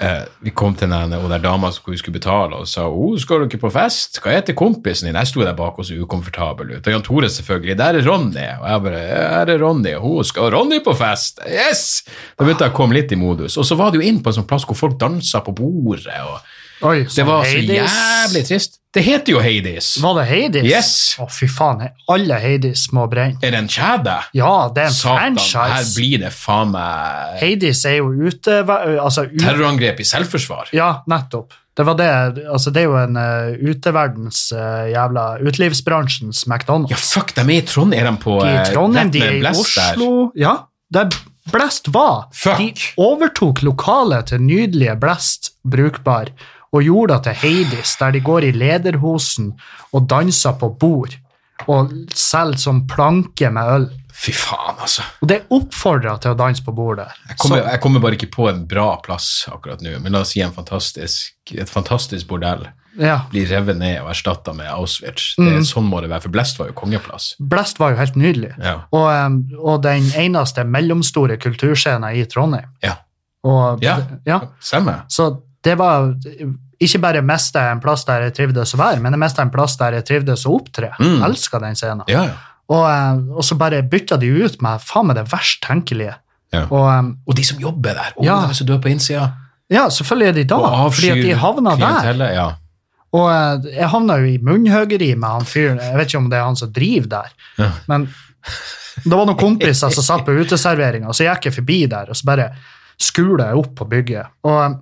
B: eh, Vi kom til den, og der dama som vi skulle betale, og sa oh, 'Skal du ikke på fest? Hva heter kompisen din?' Jeg sto der bak og så ukomfortabel ut. Og Jan Tore selvfølgelig. 'Der er Ronny.' Og jeg bare 'Her er Ronny.' Og hun 'Skal Ronny på fest?' Yes! Da begynte jeg å komme litt i modus. Og så var det jo inn på en sånn plass hvor folk dansa på bordet, og
A: Oi,
B: det
A: så
B: var så
A: Hades-
B: jævlig trist. Det heter jo Hades.
A: Var det Hades?
B: Yes.
A: Å, fy faen. Alle Hades må brenne.
B: Er det en kjede?
A: Ja, det er en
B: Satan, her
A: franchise.
B: blir det faen meg
A: Hades er jo ute altså, ut-
B: terrorangrep i selvforsvar.
A: Ja, nettopp. Det var det. Altså, det er jo en eh, uteverdens eh, jævla Utelivsbransjens
B: Ja,
A: McDonald's.
B: fuck, de er i Trondheim. Er de på
A: de er
B: eh,
A: i Trondheim,
B: rett
A: de
B: ved
A: er i
B: Blest der?
A: Oslo Ja, der Blest var.
B: Fuck.
A: De overtok lokalet til nydelige Blest Brukbar og gjorde det til Hades, der de går i lederhosen og danser på bord og selger som planke med øl.
B: Fy faen, altså.
A: Og det oppfordrer til å danse på bordet.
B: Jeg kommer, jeg kommer bare ikke på en bra plass akkurat nå, men la oss si en fantastisk, et fantastisk bordell.
A: Ja.
B: blir revet ned og erstatta med Auschwitz. Det,
A: Mm.
B: Sånn må det være, for Blest var jo kongeplass.
A: Blest var jo helt nydelig.
B: Ja.
A: Og, em, og den eneste mellomstore kulturscenen i Trondheim.
B: Ja,
A: Og,
B: Ja.
A: ja.
B: stemmer.
A: Så det var ikke bare miste en plass der jeg trivdes å være, men jeg mista en plass der jeg trivdes å opptre.
B: Mm.
A: Mm. Elska den scenen.
B: Ja, ja.
A: Og, eh, og så bare bytta de ut med faen meg det verst tenkelige.
B: Ja.
A: Og em,
B: Og de som jobber der, oh,
A: Ja.
B: de er så døde på innsida.
A: ja, selvfølgelig er de da,
B: og
A: fordi at de havna der.
B: klientellet, Ja.
A: Og eh, jeg havna jo i munnhøgeri med han fyren. Jeg vet ikke om det er han som driver der.
B: Ja.
A: Men det var noen kompiser som satt på uteserveringa, så gikk jeg forbi der, og så bare skula jeg opp på bygget. Og eh,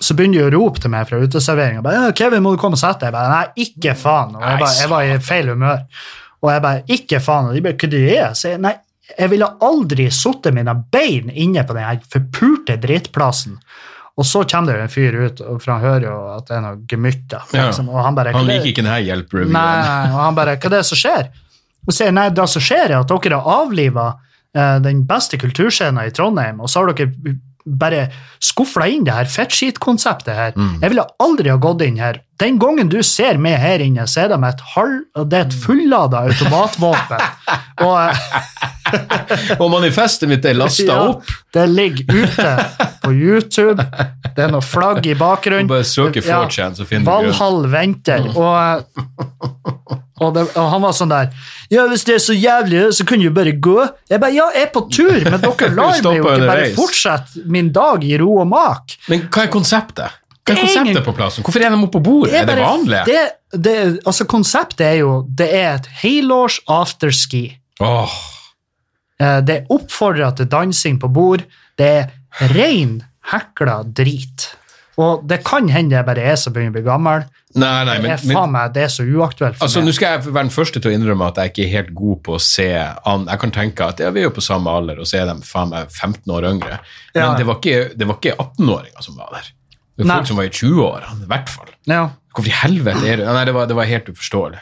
A: så begynner de å rope til meg fra uteserveringa. 'Kevin, må du komme og sette deg?' Jeg bare, Nei, ikke faen. Og jeg, bare, jeg var i feil humør. Og jeg bare 'Ikke faen'. Og de bare 'Hva det er det?' Så jeg, nei, jeg ville aldri sittet mine bein inne på den her forpurte drittplassen. Og så kommer det jo en fyr ut, og- for han hører jo at det er noe gemytter.
B: Ja.
A: Liksom, og han bare «Hva
B: Han
A: er det?»
B: liker ikke denne hjelperevyen.
A: Nei, og han bare 'Hva er det som skjer?' Og sier nei, det som skjer, er at dere har avliva eh, den beste kulturscenen i Trondheim, og så har dere bare skufla inn det her fettskitkonseptet her.
B: Mm.
A: Jeg ville aldri ha gått inn her. Den gangen du ser meg her inne, så er det med et halv, og det er et fullada automatvåpen. og eh,
B: Og manifestet mitt Altså, er lasta
A: ja,
B: opp.
A: det ligger ute på YouTube. Det er noe flagg i bakgrunnen.
B: Bare søk i
A: Ja.
B: 4chan, så finner du Mm. grunn.
A: Valhall venter, og, eh, og, det, og han var sånn der Ja, hvis det er så jævlig, så kan du jo bare gå. Jeg bare, ja, jeg er på tur, men dere lar meg
B: Stopper
A: jo ikke bare
B: underveis.
A: fortsette min dag i ro og mak.
B: Men hva er konseptet? Hva er
A: Det er ingen-
B: konseptet på plassen? Hvorfor er de oppe på bordet? Er det
A: bare-
B: vanlig?
A: Det, det, altså, konseptet er jo Det er et helårs afterski.
B: Åh,
A: Eh, Det er oppfordra til dansing på bord. Det er rein hekla drit. Og det kan hende jeg bare er som begynner å bli gammel.
B: Nei, nei,
A: Det
B: men,
A: er
B: men
A: faen meg, det er så uaktuelt for
B: Altså,
A: meg.
B: Nå skal jeg være den første til å innrømme at jeg ikke er helt god på å se an. Jeg kan tenke at ja, vi er jo på samme alder, og så er de faen meg 15 år yngre. Men
A: Ja.
B: det var ikke, det var ikke 18-åringer som var der. Det var
A: Nei.
B: folk som var i 20-årene, i hvert fall.
A: Ja.
B: Hvorfor i helvete er det Nei, det var, det var helt uforståelig.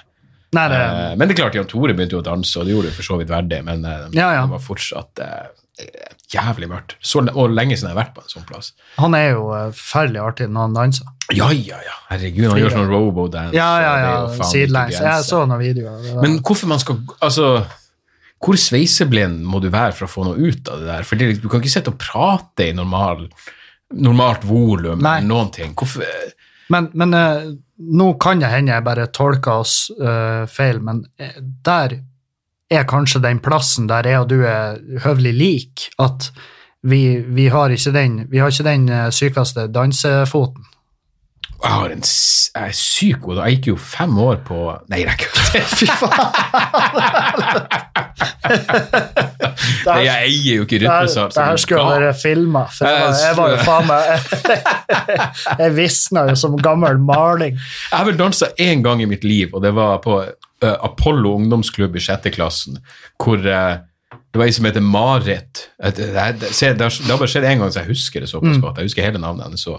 A: Nei, det,
B: Eh, Men det er klart, Jan Tore begynte jo å danse, og det gjorde jo for så vidt verdig, men eh,
A: Ja, ja.
B: det var fortsatt eh, jævlig mørkt. Så, le- og lenge siden jeg har vært på en sånn plass.
A: Han er jo eh, forferdelig artig når han danser.
B: Ja, ja, ja. Herregud, han gjør sånn robo-dance.
A: Ja, ja, ja,
B: og det er jo faen ikke
A: sidelengs.
B: grenser.
A: Jeg så noen videoer. av det der.
B: Men hvorfor man skal Altså, hvor sveiseblind må du være for å få noe ut av det der? For det, du kan ikke sitte og prate i normal, normalt volum
A: Nei.
B: eller noen ting. Hvorfor
A: men, men eh, nå kan det hende jeg bare tolker oss eh, feil, men eh, der er kanskje den plassen der jeg og du er høvelig lik, at vi, vi har ikke den, vi har ikke den eh, sykeste dansefoten.
B: Jeg, har en, s- jeg er syk god. Jeg gikk jo fem år på Nei, jeg kødder. Fy faen. Jeg eier jo ikke
A: Der,
B: rytmesans.
A: der skulle jo dere filma, for jeg var, jeg var jo faen meg Jeg visna jo som gammel maling.
B: Jeg har vel dansa én gang i mitt liv, og det var på eh, Apollo ungdomsklubb i sjette klassen, hvor eh, det var ei som heter Marit. Et- det her- det- se, Det har det har bare skjedd én gang, så jeg husker det såpass
A: Mm.
B: godt. Jeg husker hele navnet hennes. så.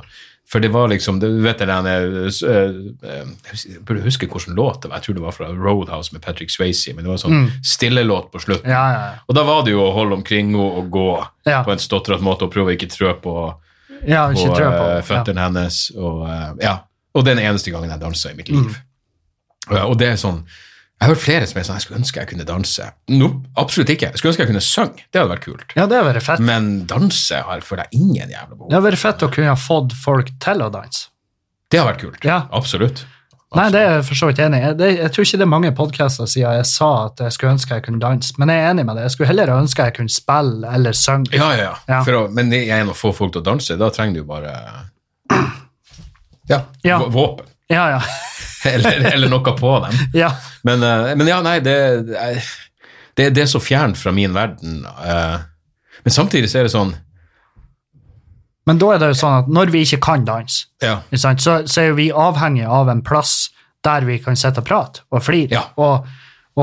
B: For det var liksom det, vet du, den, eh, s- eh, eh, Jeg hus- jeg burde huske hvilken låt det var. Jeg tror det var fra Roadhouse med Patrick Swayze, men det var en sånn stillelåt på
A: Mm.
B: slutten.
A: Ja, ja,
B: Og da var det jo å holde omkring henne og gå
A: Ja.
B: på en stotrete måte og prøve å ikke trø på
A: ja. ja
B: på,
A: ikke trø på
B: eh, føttene hennes. Og, eh, ja. og det er den eneste gangen jeg dansa i mitt liv.
A: Mm.
B: Eh, og det er sånn Jeg har hørt flere som er sånn Jeg skulle ønske jeg kunne danse. Nope, absolutt ikke. Jeg skulle ønske jeg kunne synge. Det hadde vært kult.
A: Ja, ja det har vært fett.
B: Men danse har føler jeg ingen jævla behov
A: Det hadde vært fett å kunne ha fått folk til å danse.
B: Det har vært kult.
A: Ja.
B: Absolutt.
A: Nei, det er jeg for så vidt enig i. Jeg, det- jeg tror ikke det er mange podcaster siden jeg sa at jeg skulle ønske jeg kunne danse, men jeg er enig med det. Jeg skulle heller ønske jeg kunne spille eller synge.
B: Ja, ja, ja.
A: Ja.
B: For å, men jeg er en av få folk til å danse. Da trenger du jo bare ja,
A: Ja.
B: vå- våpen.
A: Ja, ja.
B: Eller, eller noe på dem.
A: ja.
B: Men, eh, men ja, nei, det, det, det er så fjernt fra min verden. eh. men samtidig så er det sånn
A: Men da er det jo sånn at når vi ikke kan danse,
B: Ja.
A: ikke sant, så, så er jo vi avhengig av en plass der vi kan sitte og prate og flire.
B: Ja.
A: Og,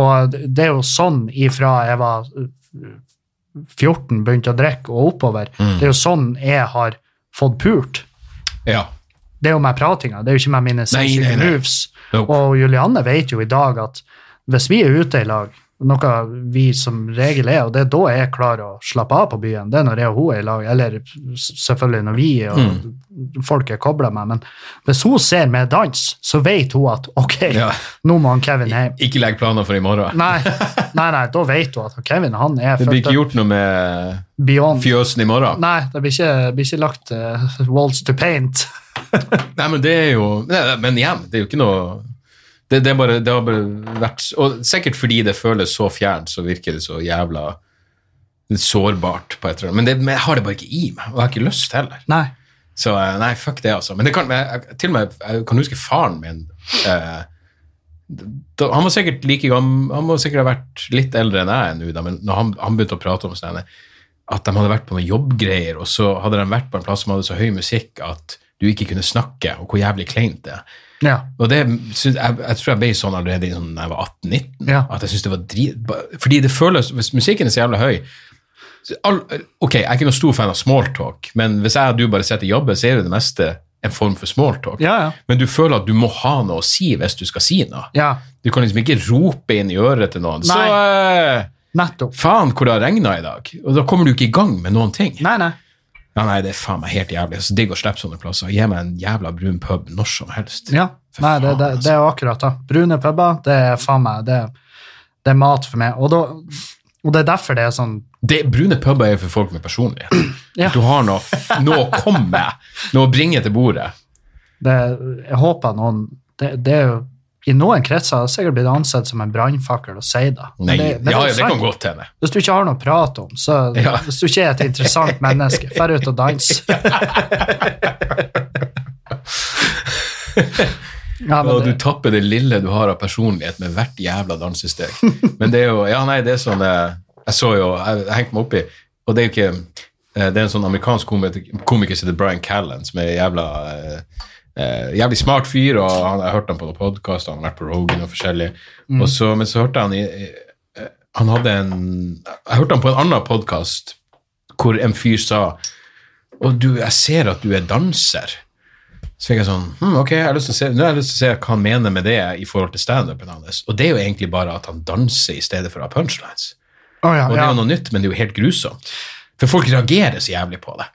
A: og det er jo sånn ifra jeg var uh, 14, begynte å drikke og oppover. Det er jo sånn jeg har fått pult.
B: ja.
A: Det er jo med pratinga, det er jo ikke med mine sinnssyke
B: nei, nei.
A: moves.
B: Nope.
A: Og Julianne vet jo i dag at hvis vi er ute i lag, Noe vi som regel er, og det er da jeg klarer å slappe av på byen. Det er når jeg og hun er i lag, eller s- selvfølgelig når vi og
B: Mm.
A: folk er kobla med. Men hvis hun ser meg danse, så vet hun at ok,
B: Ja.
A: nå må han Kevin hjem.
B: Ikke legg planer for i morgen.
A: Nei, nei, nei, da vet hun at Kevin han er
B: Det blir
A: fucked
B: ikke
A: up
B: gjort noe med
A: beyond.
B: fjøsen i morgen.
A: Nei, det blir ikke, blir ikke lagt eh, walls to paint.
B: Nei, men det er jo nei, nei, Men igjen, det er jo ikke noe det, det, er bare, det har bare vært Og sikkert fordi det føles så fjernt, så virker det så jævla sårbart på et eller annet. Men, det, men jeg har det bare ikke i meg, og jeg har ikke lyst heller.
A: Nei.
B: Så eh, nei, fuck det, altså. Men det kan, men jeg, jeg- til og med, jeg kan huske faren min eh, da, Han var sikkert like gammel Han må sikkert ha vært litt eldre enn jeg er nå, da, men når han, han begynte å prate om sånne, at de hadde vært på noen jobbgreier, og så hadde de vært på en plass som hadde så høy musikk at du ikke kunne snakke, og hvor jævlig kleint det er.
A: Ja.
B: Og det, syns- jeg, jeg tror jeg ble sånn allerede i sånn, da jeg var 18-19.
A: Ja.
B: At jeg synes det var drit... ba- Fordi det føles, hvis musikken er så jævlig høy så all, Ok, jeg er ikke noen stor fan av smalltalk, men hvis jeg og du bare sitter og jobber, så er det det meste en form for smalltalk.
A: Ja, ja.
B: Men du føler at du må ha noe å si hvis du skal si noe.
A: ja.
B: Du kan liksom ikke rope inn i øret til noen. Så eh,
A: Nettopp.
B: faen hvor det har regna i dag. Og da kommer du ikke i gang med noen ting.
A: Nei, nei.
B: Ja, nei, det er faen meg helt jævlig. Så digg å slippe sånne plasser. Gi meg en jævla brun pub når som helst.
A: Ja.
B: For
A: Nei, det,
B: faen, altså.
A: det, det er akkurat det. Brune puber, det er faen meg det, det er mat for meg. Og, da, og det er derfor det er sånn
B: Det Brune puber er jo for folk med personlighet.
A: Ja.
B: Du har noe, noe å komme med, noe å bringe til bordet.
A: det, Jeg håper noen det, det er jo I noen kretser har det sikkert blitt ansett som en brannfakkel å si det. Men
B: Nei,
A: det, men
B: ja,
A: er
B: ja, det
A: sant.
B: kan godt hende.
A: Hvis du ikke har noe å prate om, så
B: Ja.
A: hvis du ikke er et interessant menneske, drar ut og dans. ja, men
B: Og du
A: det,
B: tapper det lille du har av personlighet med hvert jævla dansesteg. Men det er jo Ja, nei, det er sånn eh, Jeg så jo Jeg, jeg hengte meg oppi, og det er jo ikke eh, Det er en sånn amerikansk komiker, komiker som heter Brian Callan, som er jævla eh, eh, jævlig smart fyr, og han, jeg hørte han på noen podkast, han har vært på Rogan og forskjellig.
A: Mm.
B: Og så, men så hørte han i, i- eh, Han hadde en Jeg hørte han på en annen podkast hvor en fyr sa Og du, jeg ser at du er danser. Så fikk jeg sånn hm, Ok, jeg har lyst til å se, nå har jeg lyst til å se hva han mener med det i forhold til standupen hans. Og det er jo egentlig bare at han danser i stedet for å ha punchlines.
A: Å, ja,
B: Og det er
A: ja.
B: jo noe nytt, men det er jo helt grusomt. For folk reagerer så jævlig på det.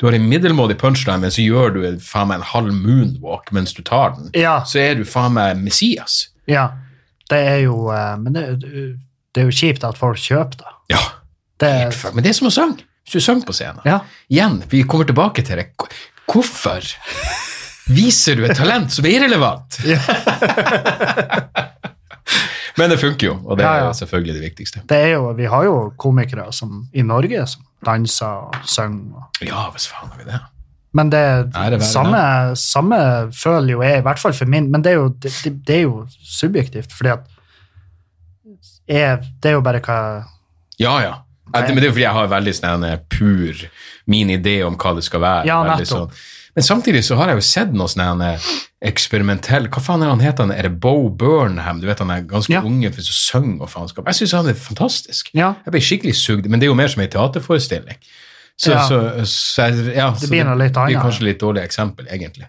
B: Du har en middelmådig punchline, men så gjør du en- faen meg en halv moonwalk mens du tar den.
A: Ja.
B: Så er du faen meg Messias.
A: ja. Det er jo eh, Men det, det er jo kjipt at folk kjøper det.
B: Ja.
A: det
B: helt fuck. Men det er som å synge. Hvis du synger på scenen.
A: Ja.
B: Igjen, vi kommer tilbake til det. Hvor- Hvorfor viser du et talent som er irrelevant? Men det funker jo, og det
A: Ja,
B: er
A: ja.
B: jo selvfølgelig det viktigste.
A: det er jo, vi har jo komikere som, i Norge som danser og synger. og-
B: Ja, hvis faen har vi det.
A: Men det,
B: Ære være
A: samme, samme føler jo jeg, i hvert fall for min, men det er jo, det, det- det er jo subjektivt, fordi at jeg, det er jo bare hva
B: Ja, ja. Ja, det- Men det er jo fordi jeg har veldig sånn en pur min idé om hva det skal være.
A: Ja,
B: veldig
A: nettopp.
B: sånn. Men samtidig så har jeg jo sett noe sånn en eksperimentell Hva faen er han heter han? Er det Bo Burnham? Du vet han er ganske
A: Ja.
B: unge for som synger og faenskap. Jeg syns han er fantastisk.
A: Ja.
B: Jeg ble skikkelig sugd, men det er jo mer som en teaterforestilling. Så,
A: Ja.
B: så, så, jeg- ja, så
A: blir noe litt
B: Det
A: annet.
B: blir kanskje litt dårlig eksempel, egentlig.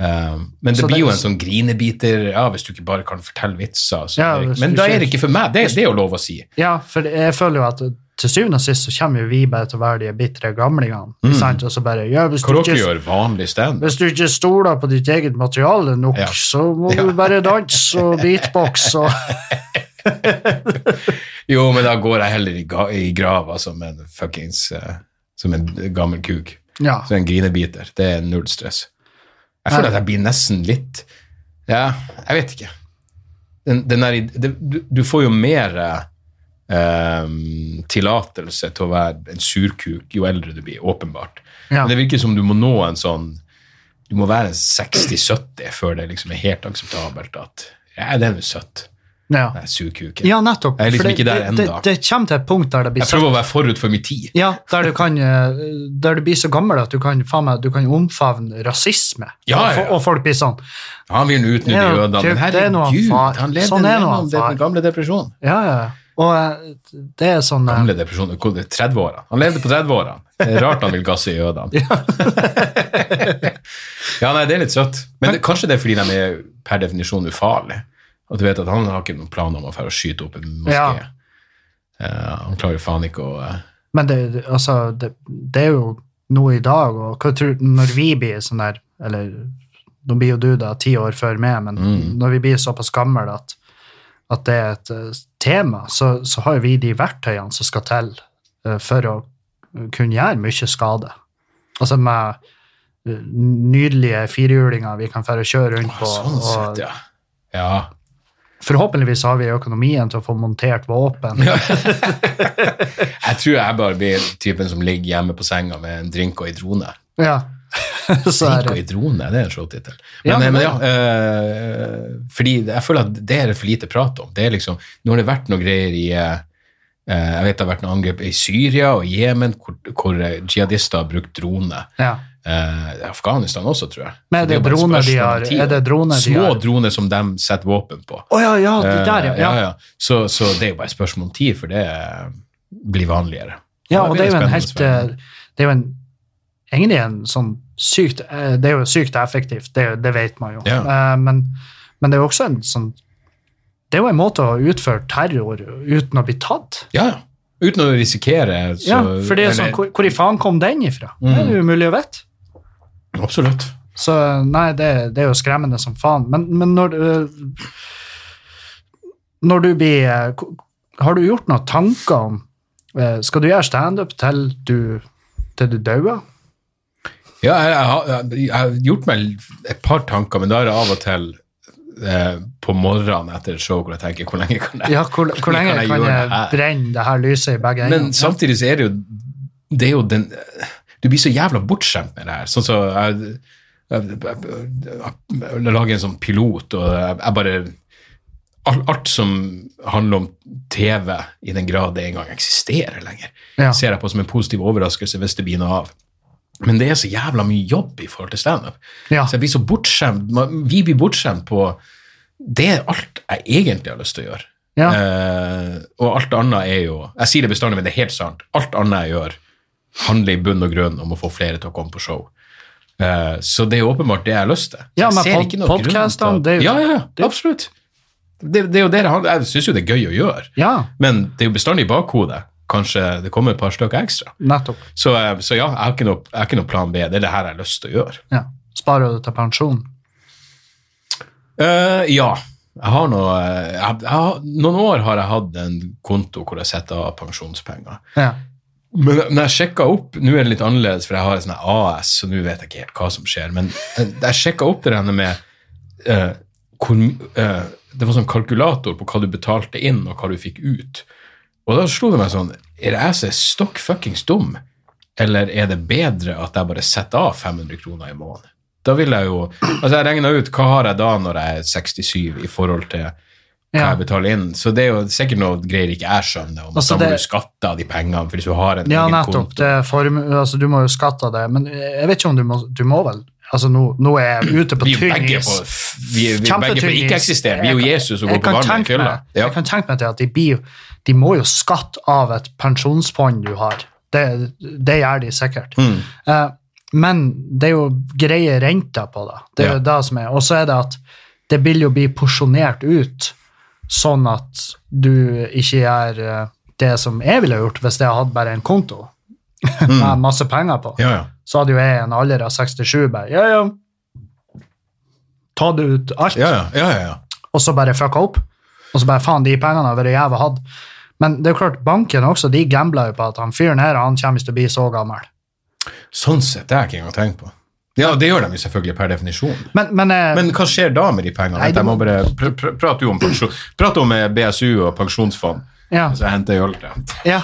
B: Um, men det
A: Så
B: blir
A: det-
B: jo en sånn grinebiter ja, hvis du ikke bare kan fortelle vitser. Så
A: Ja, hvis
B: men
A: du
B: da er
A: ikke-
B: det ikke for meg. Det, det er jo lov å si.
A: Ja, for jeg føler jo at til syvende og sist så kommer jo vi bare til å være de bitre gamlingene. Sant? Og så bare ja, hvis, du
B: Mm. Hva dere
A: ikke,
B: gjør vanlig stand?
A: hvis du ikke stoler på ditt eget materiale nok,
B: Ja.
A: så må du bare danse og beatbox og
B: Jo, men da går jeg heller i, ga i grava som en fuckings eh, Som en gammel kuk.
A: Ja.
B: Som en grinebiter. Det er null stress. Jeg føler at jeg blir nesten litt Ja, jeg vet ikke. Den, den der, id- det, du, du får jo mer eh, tillatelse til å være en surkuk jo eldre du blir, åpenbart.
A: Ja.
B: Men det virker som du må nå en sånn Du må være en 60-70 før det liksom er helt akseptabelt at Ja, den er jo søt.
A: Ja,
B: Den er surkuken.
A: ja nettopp.
B: Jeg er liksom
A: for det-
B: ikke der
A: det, det,
B: enda.
A: det kommer til et punkt der det blir
B: Jeg prøver å være forut for min tid.
A: Ja, der du, kan, eh, der du blir så gammel at du kan, faen meg, du kan omfavne rasisme.
B: Ja, ja, ja.
A: Og, og folk blir sånn
B: Han vil nå utnytte
A: Ja,
B: jødene, men
A: det er noe
B: herregud,
A: far.
B: han levde
A: Sånn er noe
B: gjennom
A: far.
B: den gamle depresjonen.
A: Ja, ja. Og eh, det er sånn eh,
B: Gamle depresjonen, hvor det er 30-årene. Han levde på 30-årene. Det er rart han vil gasse jødene. Ja. nei, det er litt søtt. Men det, kanskje det er fordi de er per definisjon ufarlige. At du vet at han har ikke noen plan om å fære og skyte opp en moské.
A: Ja.
B: Eh, han klarer faen ikke å eh,
A: Men det, altså, det, det er jo noe i dag, og hva tror, når vi blir sånn der Eller nå blir jo du da ti år før meg, men
B: Mm.
A: når vi blir såpass gammel at, at det er et eh, tema, så, så har jo vi de verktøyene som skal til eh, for å kunne gjøre mye skade. Altså med eh, nydelige firehjulinger vi kan føre og kjøre rundt på.
B: Sånn
A: og
B: sett, ja. Ja.
A: Forhåpentligvis har vi økonomien til å få montert våpen.
B: Jeg tror jeg bare blir typen som ligger hjemme på senga med en drink og ei drone.
A: Ja. Så er
B: Drink og
A: det
B: ei drone, det er en showtittel.
A: Ja,
B: Men,
A: men
B: men
A: det-
B: ja, eh, fordi jeg føler at det er det for lite prat om. Det er liksom, nå har det vært noe greier i eh, eh, Jeg vet det har vært noen angrep i Syria og Jemen hvor, hvor eh, jihadister har brukt drone.
A: ja.
B: Eh, Afghanistan også, tror jeg.
A: Men er
B: Så jo
A: det
B: bare et
A: droner de
B: spørsmål om
A: har-
B: tid.
A: er det droner de
B: Små
A: har?
B: droner som de setter våpen på.
A: Å ja, ja, de der, ja.
B: Eh,
A: ja.
B: ja, ja. Så, så det er jo bare et spørsmål om tid, for det eh, blir vanligere.
A: Ja, og det er jo en
B: blir
A: helt
B: spennende,
A: eh, Det er jo en, egentlig en sånn sykt eh, Det er jo sykt effektivt, det, det vet man jo.
B: Ja.
A: Eh, Men, men det er jo også en sånn Det er jo en måte å utføre terror uten å bli tatt.
B: spennende. Ja, ja. Uten å risikere. Så,
A: ja, for det er sånn,
B: eller- Mm.
A: hvor, hvor i faen kom den ifra? Det er jo umulig å vite.
B: Absolutt.
A: Så nei, det, det er jo skremmende som faen. Men, men når du- Når du blir eh, ko- Har du gjort noen tanker om eh, Skal du gjøre standup til du, til du dauer?
B: Ja, jeg, jeg, har- jeg, jeg har gjort meg et par tanker, men da er det av og til eh, på morgenen etter et show hvor jeg tenker hvor lenge kan jeg
A: Ja, hvor, hvor lenge kan jeg,
B: gjøre det her?
A: brenne det her lyset i begge
B: Men
A: endene?
B: samtidig så er det jo det er jo den Du blir så jævla bortskjemt med det her. Sånn så jeg, jeg, jeg, jeg, jeg lager en sånn pilot, og jeg, jeg bare alt, alt som handler om TV, i den grad det engang eksisterer lenger,
A: Ja.
B: ser jeg på som en positiv overraskelse hvis det blir noe av. Men det er så jævla mye jobb i forhold til standup.
A: Ja.
B: Så jeg blir så bortskjemt. Man- Vi blir bortskjemt på Det er alt jeg egentlig har lyst til å gjøre.
A: Ja.
B: Eh, og alt annet er jo Jeg sier det bestandig, men det er helt sant. Alt annet jeg gjør, handler i bunn og grunn om å få flere til å komme på show. Eh, så det er åpenbart det jeg har lyst til.
A: Ja,
B: Jeg
A: men
B: ser
A: pod-
B: ikke noe grunn til
A: podcastene,
B: at-
A: det er jo-
B: Ja, ja, ja, absolutt. Det, det er jo det det handler Jeg syns jo det er gøy å gjøre,
A: ja,
B: men det er jo bestandig i bakhodet. Kanskje det kommer et par stykker ekstra.
A: nettopp.
B: Så, eh, så ja, jeg har, ikke noe, jeg har ikke noe plan B. Det er det her jeg har lyst til å gjøre.
A: Ja. Sparer du til pensjon?
B: Eh, ja. Jeg har noe, eh, jeg, jeg, har- noen år har jeg hatt en konto hvor jeg setter av pensjonspenger.
A: Ja.
B: Men når jeg sjekka opp Nå er det litt annerledes, for jeg har et sånt AS, så nå vet jeg ikke helt hva som skjer. Men eh, jeg sjekka opp det denne med eh, hvor, my- eh, Det var sånn kalkulator på hva du betalte inn, og hva du fikk ut. Og da slo det meg sånn Er det jeg som er stokk fuckings dum, eller er det bedre at jeg bare setter av 500 kroner i måneden? Da vil jeg jo Altså, jeg regna ut hva har jeg da når jeg er 67 i forhold til hva
A: Ja.
B: jeg betaler inn. Så det er jo sikkert noe greier ikke jeg skjønner, om at
A: Altså,
B: da må
A: det-
B: du skatte av de pengene. for hvis du har en
A: ja,
B: egen
A: nettopp.
B: konto.
A: Det er form, altså, du må jo skatte av det, men eh, jeg vet ikke om du må, du må vel Altså, nå, nå er jeg ute på
B: Vi er jo
A: tynn
B: begge
A: is.
B: på, vi er, vi er begge på
A: Kjempetynn is.
B: ikke-eksisterende. Vi er
A: Jeg
B: jo
A: kan-
B: Jesus og
A: jeg
B: går på
A: kan
B: vannet i
A: tenke
B: fylla.
A: meg-
B: Ja.
A: Jeg kan tenke meg til at de, blir, jo- de må jo skatte av et pensjonsfond du har. Det, det gjør de sikkert.
B: Mm.
A: Eh, men det er jo greie renter på det. Det er jo
B: Ja.
A: det som er. Og så er det at det vil jo bli porsjonert ut, sånn at du ikke gjør eh, det som jeg ville gjort hvis jeg hadde bare en konto med masse penger på
B: Mm. Ja, ja.
A: så hadde jo jeg en alder av 67 bare Ja, ja. Ta det ut alt,
B: Ja, ja, ja, ja, ja.
A: og så bare fucka opp. Og så bare faen, de pengene hadde vært jævla hatt. Men det er jo klart, banken også, de gambler jo på at han fyren her, han kommer ikke til å bli så gammel.
B: Sånn sett, det har jeg ikke engang tenkt på. Ja, det gjør de jo selvfølgelig per definisjon.
A: Men, men, eh,
B: Men hva skjer da med de pengene?
A: Nei, det
B: jeg må
A: må-
B: bare pr pr Prat jo om, pensjon. Prat om eh, BSU og pensjonsfond,
A: ja,
B: så jeg henter en øl til dem.
A: ja.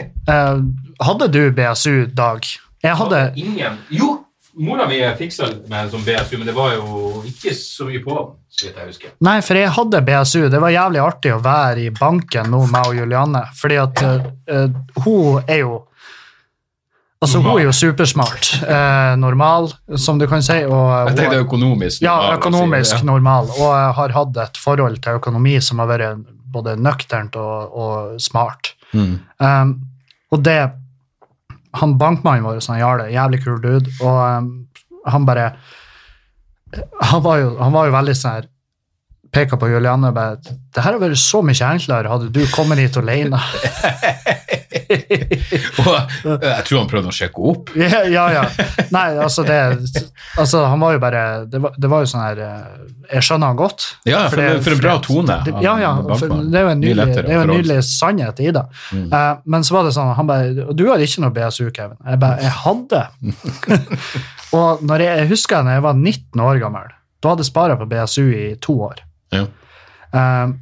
A: Eh, hadde du BSU, Dag? Jeg hadde
B: Ingen Jo, mora mi fiksa med en sånn BSU, men det var jo ikke så mye på den, så vidt jeg husker.
A: Nei, for jeg hadde BSU. Det var jævlig artig å være i banken nå, meg og Julianne. Fordi at eh, eh, hun er jo Altså, hun er jo supersmart. eh, normal, som du kan si. Og, eh,
B: Jeg tenkte
A: hun,
B: økonomisk.
A: ja,
B: normal,
A: økonomisk
B: altså.
A: normal. Og eh, har hatt et forhold til økonomi som har vært både nøkternt og, og smart.
B: Mm.
A: Um, og det Han bankmannen vår, så han gjør det, jævlig kul dude, og um, han bare Han var jo, han var jo veldig sånn her Peka på Julianne og bare Det her har vært så mye enklere hadde du kommet hit alene.
B: Og eh, jeg tror han prøvde å sjekke opp.
A: ja, ja, ja. Nei, altså, det altså, Han var jo bare Det var, det var jo sånn her eh, Jeg skjønner han godt.
B: Ja, for det- for en bra tone
A: Det,
B: av
A: ja, ja.
B: Bankman.
A: For det er jo en
B: Mye
A: nydelig,
B: lettere Mm.
A: det er jo en
B: å forholde
A: nydelig sannhet i det. Eh, men så var det sånn Han bare Du har ikke noe BSU, Kevin. Jeg bare Jeg hadde. Og når jeg, jeg husker da jeg var 19 år gammel, da hadde jeg spara på BSU i to år.
B: Ja.
A: Um,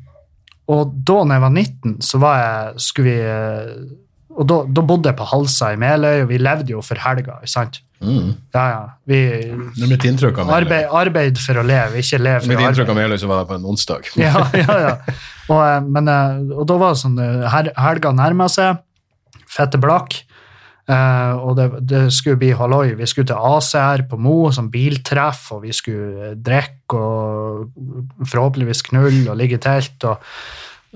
A: og da når jeg var 19, så var jeg skulle vi, eh, Og da, da bodde jeg på Halsa i Meløy, og vi levde jo for helga, ikke sant?
B: Mm.
A: Ja, ja. Vi
B: Det er mitt inntrykk av Meløy.
A: arbeid, arbeid for å leve, ikke leve for
B: Mitt
A: å
B: inntrykk
A: arbeide.
B: av Meløy så var det på en onsdag.
A: Ja, ja, ja. Og, eh, men, eh, og da var det sånn eh, her, Helga nærma seg, fette blakk, eh, og det, det skulle bli halloi. Vi skulle til ACR på Mo, som biltreff, og vi skulle eh, drikke og forhåpentligvis knulle og ligge i telt og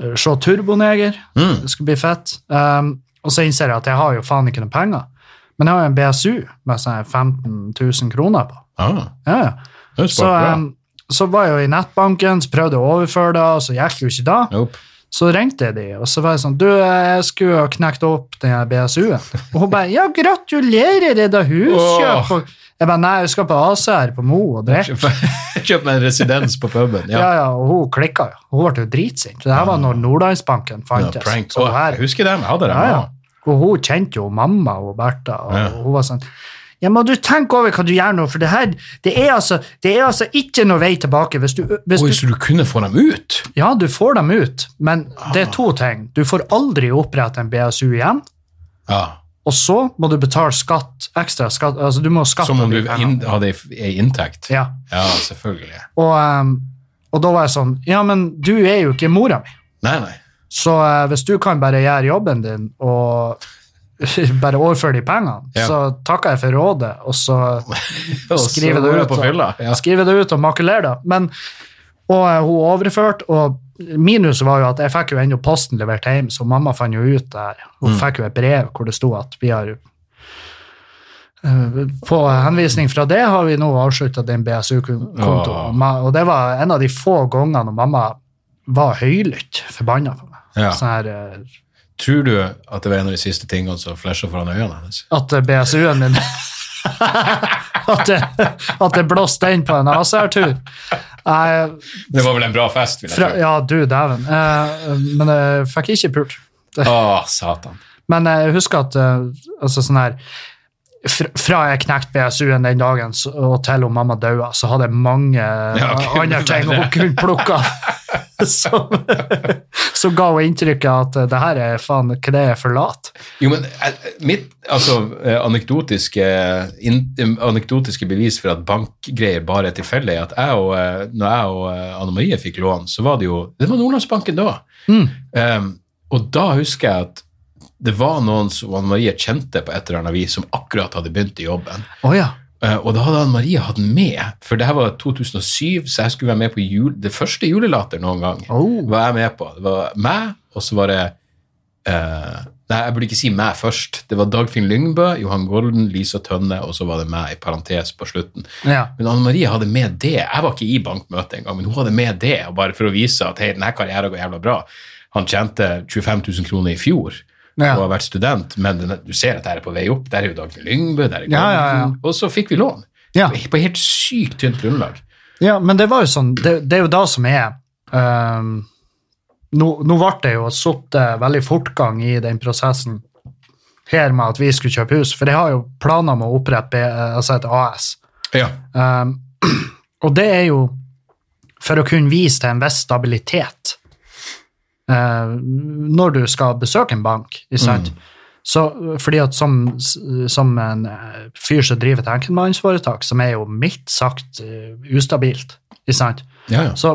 A: eh, se Turboneger.
B: Mm.
A: Det skulle bli fett. Um, og så innser jeg at jeg har jo faen ikke noen penger. Men jeg har jo en BSU med sånn 15 000 kroner på.
B: Ah,
A: Ja, ja.
B: det er
A: Så, um, så var jeg jo i nettbanken, så prøvde jeg å overføre det, og så gikk det jo ikke da. Så ringte jeg de, og så var jeg sånn Du, jeg skulle ha knekt opp den her BSU-en. Og hun bare Ja, gratulerer, er det huskjøp?
B: Åh.
A: Og Jeg bare Nei, jeg skal på AC her på Mo og drikke.
B: Kjøp meg en residens på puben.
A: Ja.
B: Ja.
A: ja, og hun klikka jo. Hun ble jo dritsint. Det her var når Nordlandsbanken
B: Ja,
A: fantes.
B: prank.
A: Så
B: Å,
A: Sånn her-
B: jeg husker dem. Jeg hadde dem.
A: Ja, ja.
B: også.
A: Og hun kjente jo mamma og Bertha, og
B: Ja.
A: hun var sånn ja, men du tenk over hva du gjør nå, for det her, det er altså, det er altså ikke noe vei tilbake. Hvis du, hvis
B: Oi,
A: du,
B: så du kunne få dem ut?
A: ja, du får dem ut, men
B: Ah.
A: det er to ting. Du får aldri opprette en BSU igjen,
B: Ja.
A: og så må du betale skatt, ekstra skatt, altså du må skatte.
B: Som om
A: de
B: du
A: pengene.
B: inn, hadde ei inntekt?
A: Ja,
B: Ja, selvfølgelig.
A: og, ehm, og da var jeg sånn, ja, men du er jo ikke mora mi,
B: Nei, nei.
A: så eh, hvis du kan bare gjøre jobben din, og bare overføre de pengene,
B: Ja.
A: så takker jeg for rådet, og så...
B: Og så
A: Skrive
B: var
A: det
B: jeg
A: ut,
B: på
A: da.
B: fylla. Ja.
A: skrive det ut og makulere det. Men, og eh, hun overførte, og minuset var jo at jeg fikk jo ennå posten levert hjem, så mamma fant jo ut det her. Hun
B: Mm.
A: fikk jo et brev hvor det sto at vi har eh, på henvisning fra det har vi nå avslutta din
B: Åh.
A: BSU-konto. Og det var en av de få gangene når mamma var høylytt forbanna på meg.
B: Ja.
A: Sånn her, eh,
B: Tror du at det var en av de siste tingene som flasha foran øynene hennes?
A: at eh, BSU-en min At det, at det blåste inn på en ACR-tur. Nei,
B: Det var vel en bra fest, vil jeg
A: Fra,
B: tro.
A: ja, du dæven. Eh, men jeg fikk ikke pult.
B: Å, satan.
A: Men jeg husker at eh, altså sånn her fra, fra jeg knekte BSU-en den dagen så- og til hun mamma daua, så hadde jeg mange eh,
B: ok,
A: andre ting
B: men-
A: hun kunne plukke av. Som, som ga hun inntrykket av at eh, det her er faen ikke det jeg forlater.
B: Jo, men eh, mitt altså, eh, anekdotiske, in, eh, anekdotiske bevis for at bankgreier bare er tilfeldig, er at jeg og, eh, når jeg og eh, Anne Marie fikk lån, så var det jo Det var Nordlandsbanken da.
A: Mm.
B: Em, og da husker jeg at det var noen som Anne Marie kjente på et eller annet vis, som akkurat hadde begynt i jobben.
A: Å ja.
B: Eh, og da hadde Anne Marie hatt den med, for det her var 2007, så jeg skulle være med på jul, det første julelater noen gang.
A: Oh.
B: var jeg med på. Det var meg, og så var det eh, Nei, jeg burde ikke si meg først. Det var Dagfinn Lyngbø, Johan Golden, Lisa Tønne, og så var det meg, i parentes, på slutten.
A: ja.
B: Men Anne Marie hadde med det. Jeg var ikke i bankmøtet engang, men hun hadde med det, og bare for å vise at hei, denne karrieren går jævla bra. Han tjente 25 000 kroner i fjor.
A: Ja.
B: Og har vært student, men den- du ser at det er på vei opp. Der er jo Dagfinn Lyngbø, der er Golden.
A: Ja, ja, ja.
B: Og så fikk vi lån.
A: Ja.
B: På helt sykt tynt grunnlag.
A: Ja, men det var jo sånn, det, det er jo da som er ehm, nå, nå ble det jo sittet veldig fortgang i den prosessen her med at vi skulle kjøpe hus, for jeg har jo planer om å opprette B- altså et AS.
B: Ja.
A: Ehm, og det er jo for å kunne vise til en viss stabilitet eh, når du skal besøke en bank. Ikke sant? Så, fordi at som, som en eh, fyr som driver et enkeltmannsforetak, som er jo mildt sagt eh, ustabilt, ikke sant?
B: ja, ja.
A: så,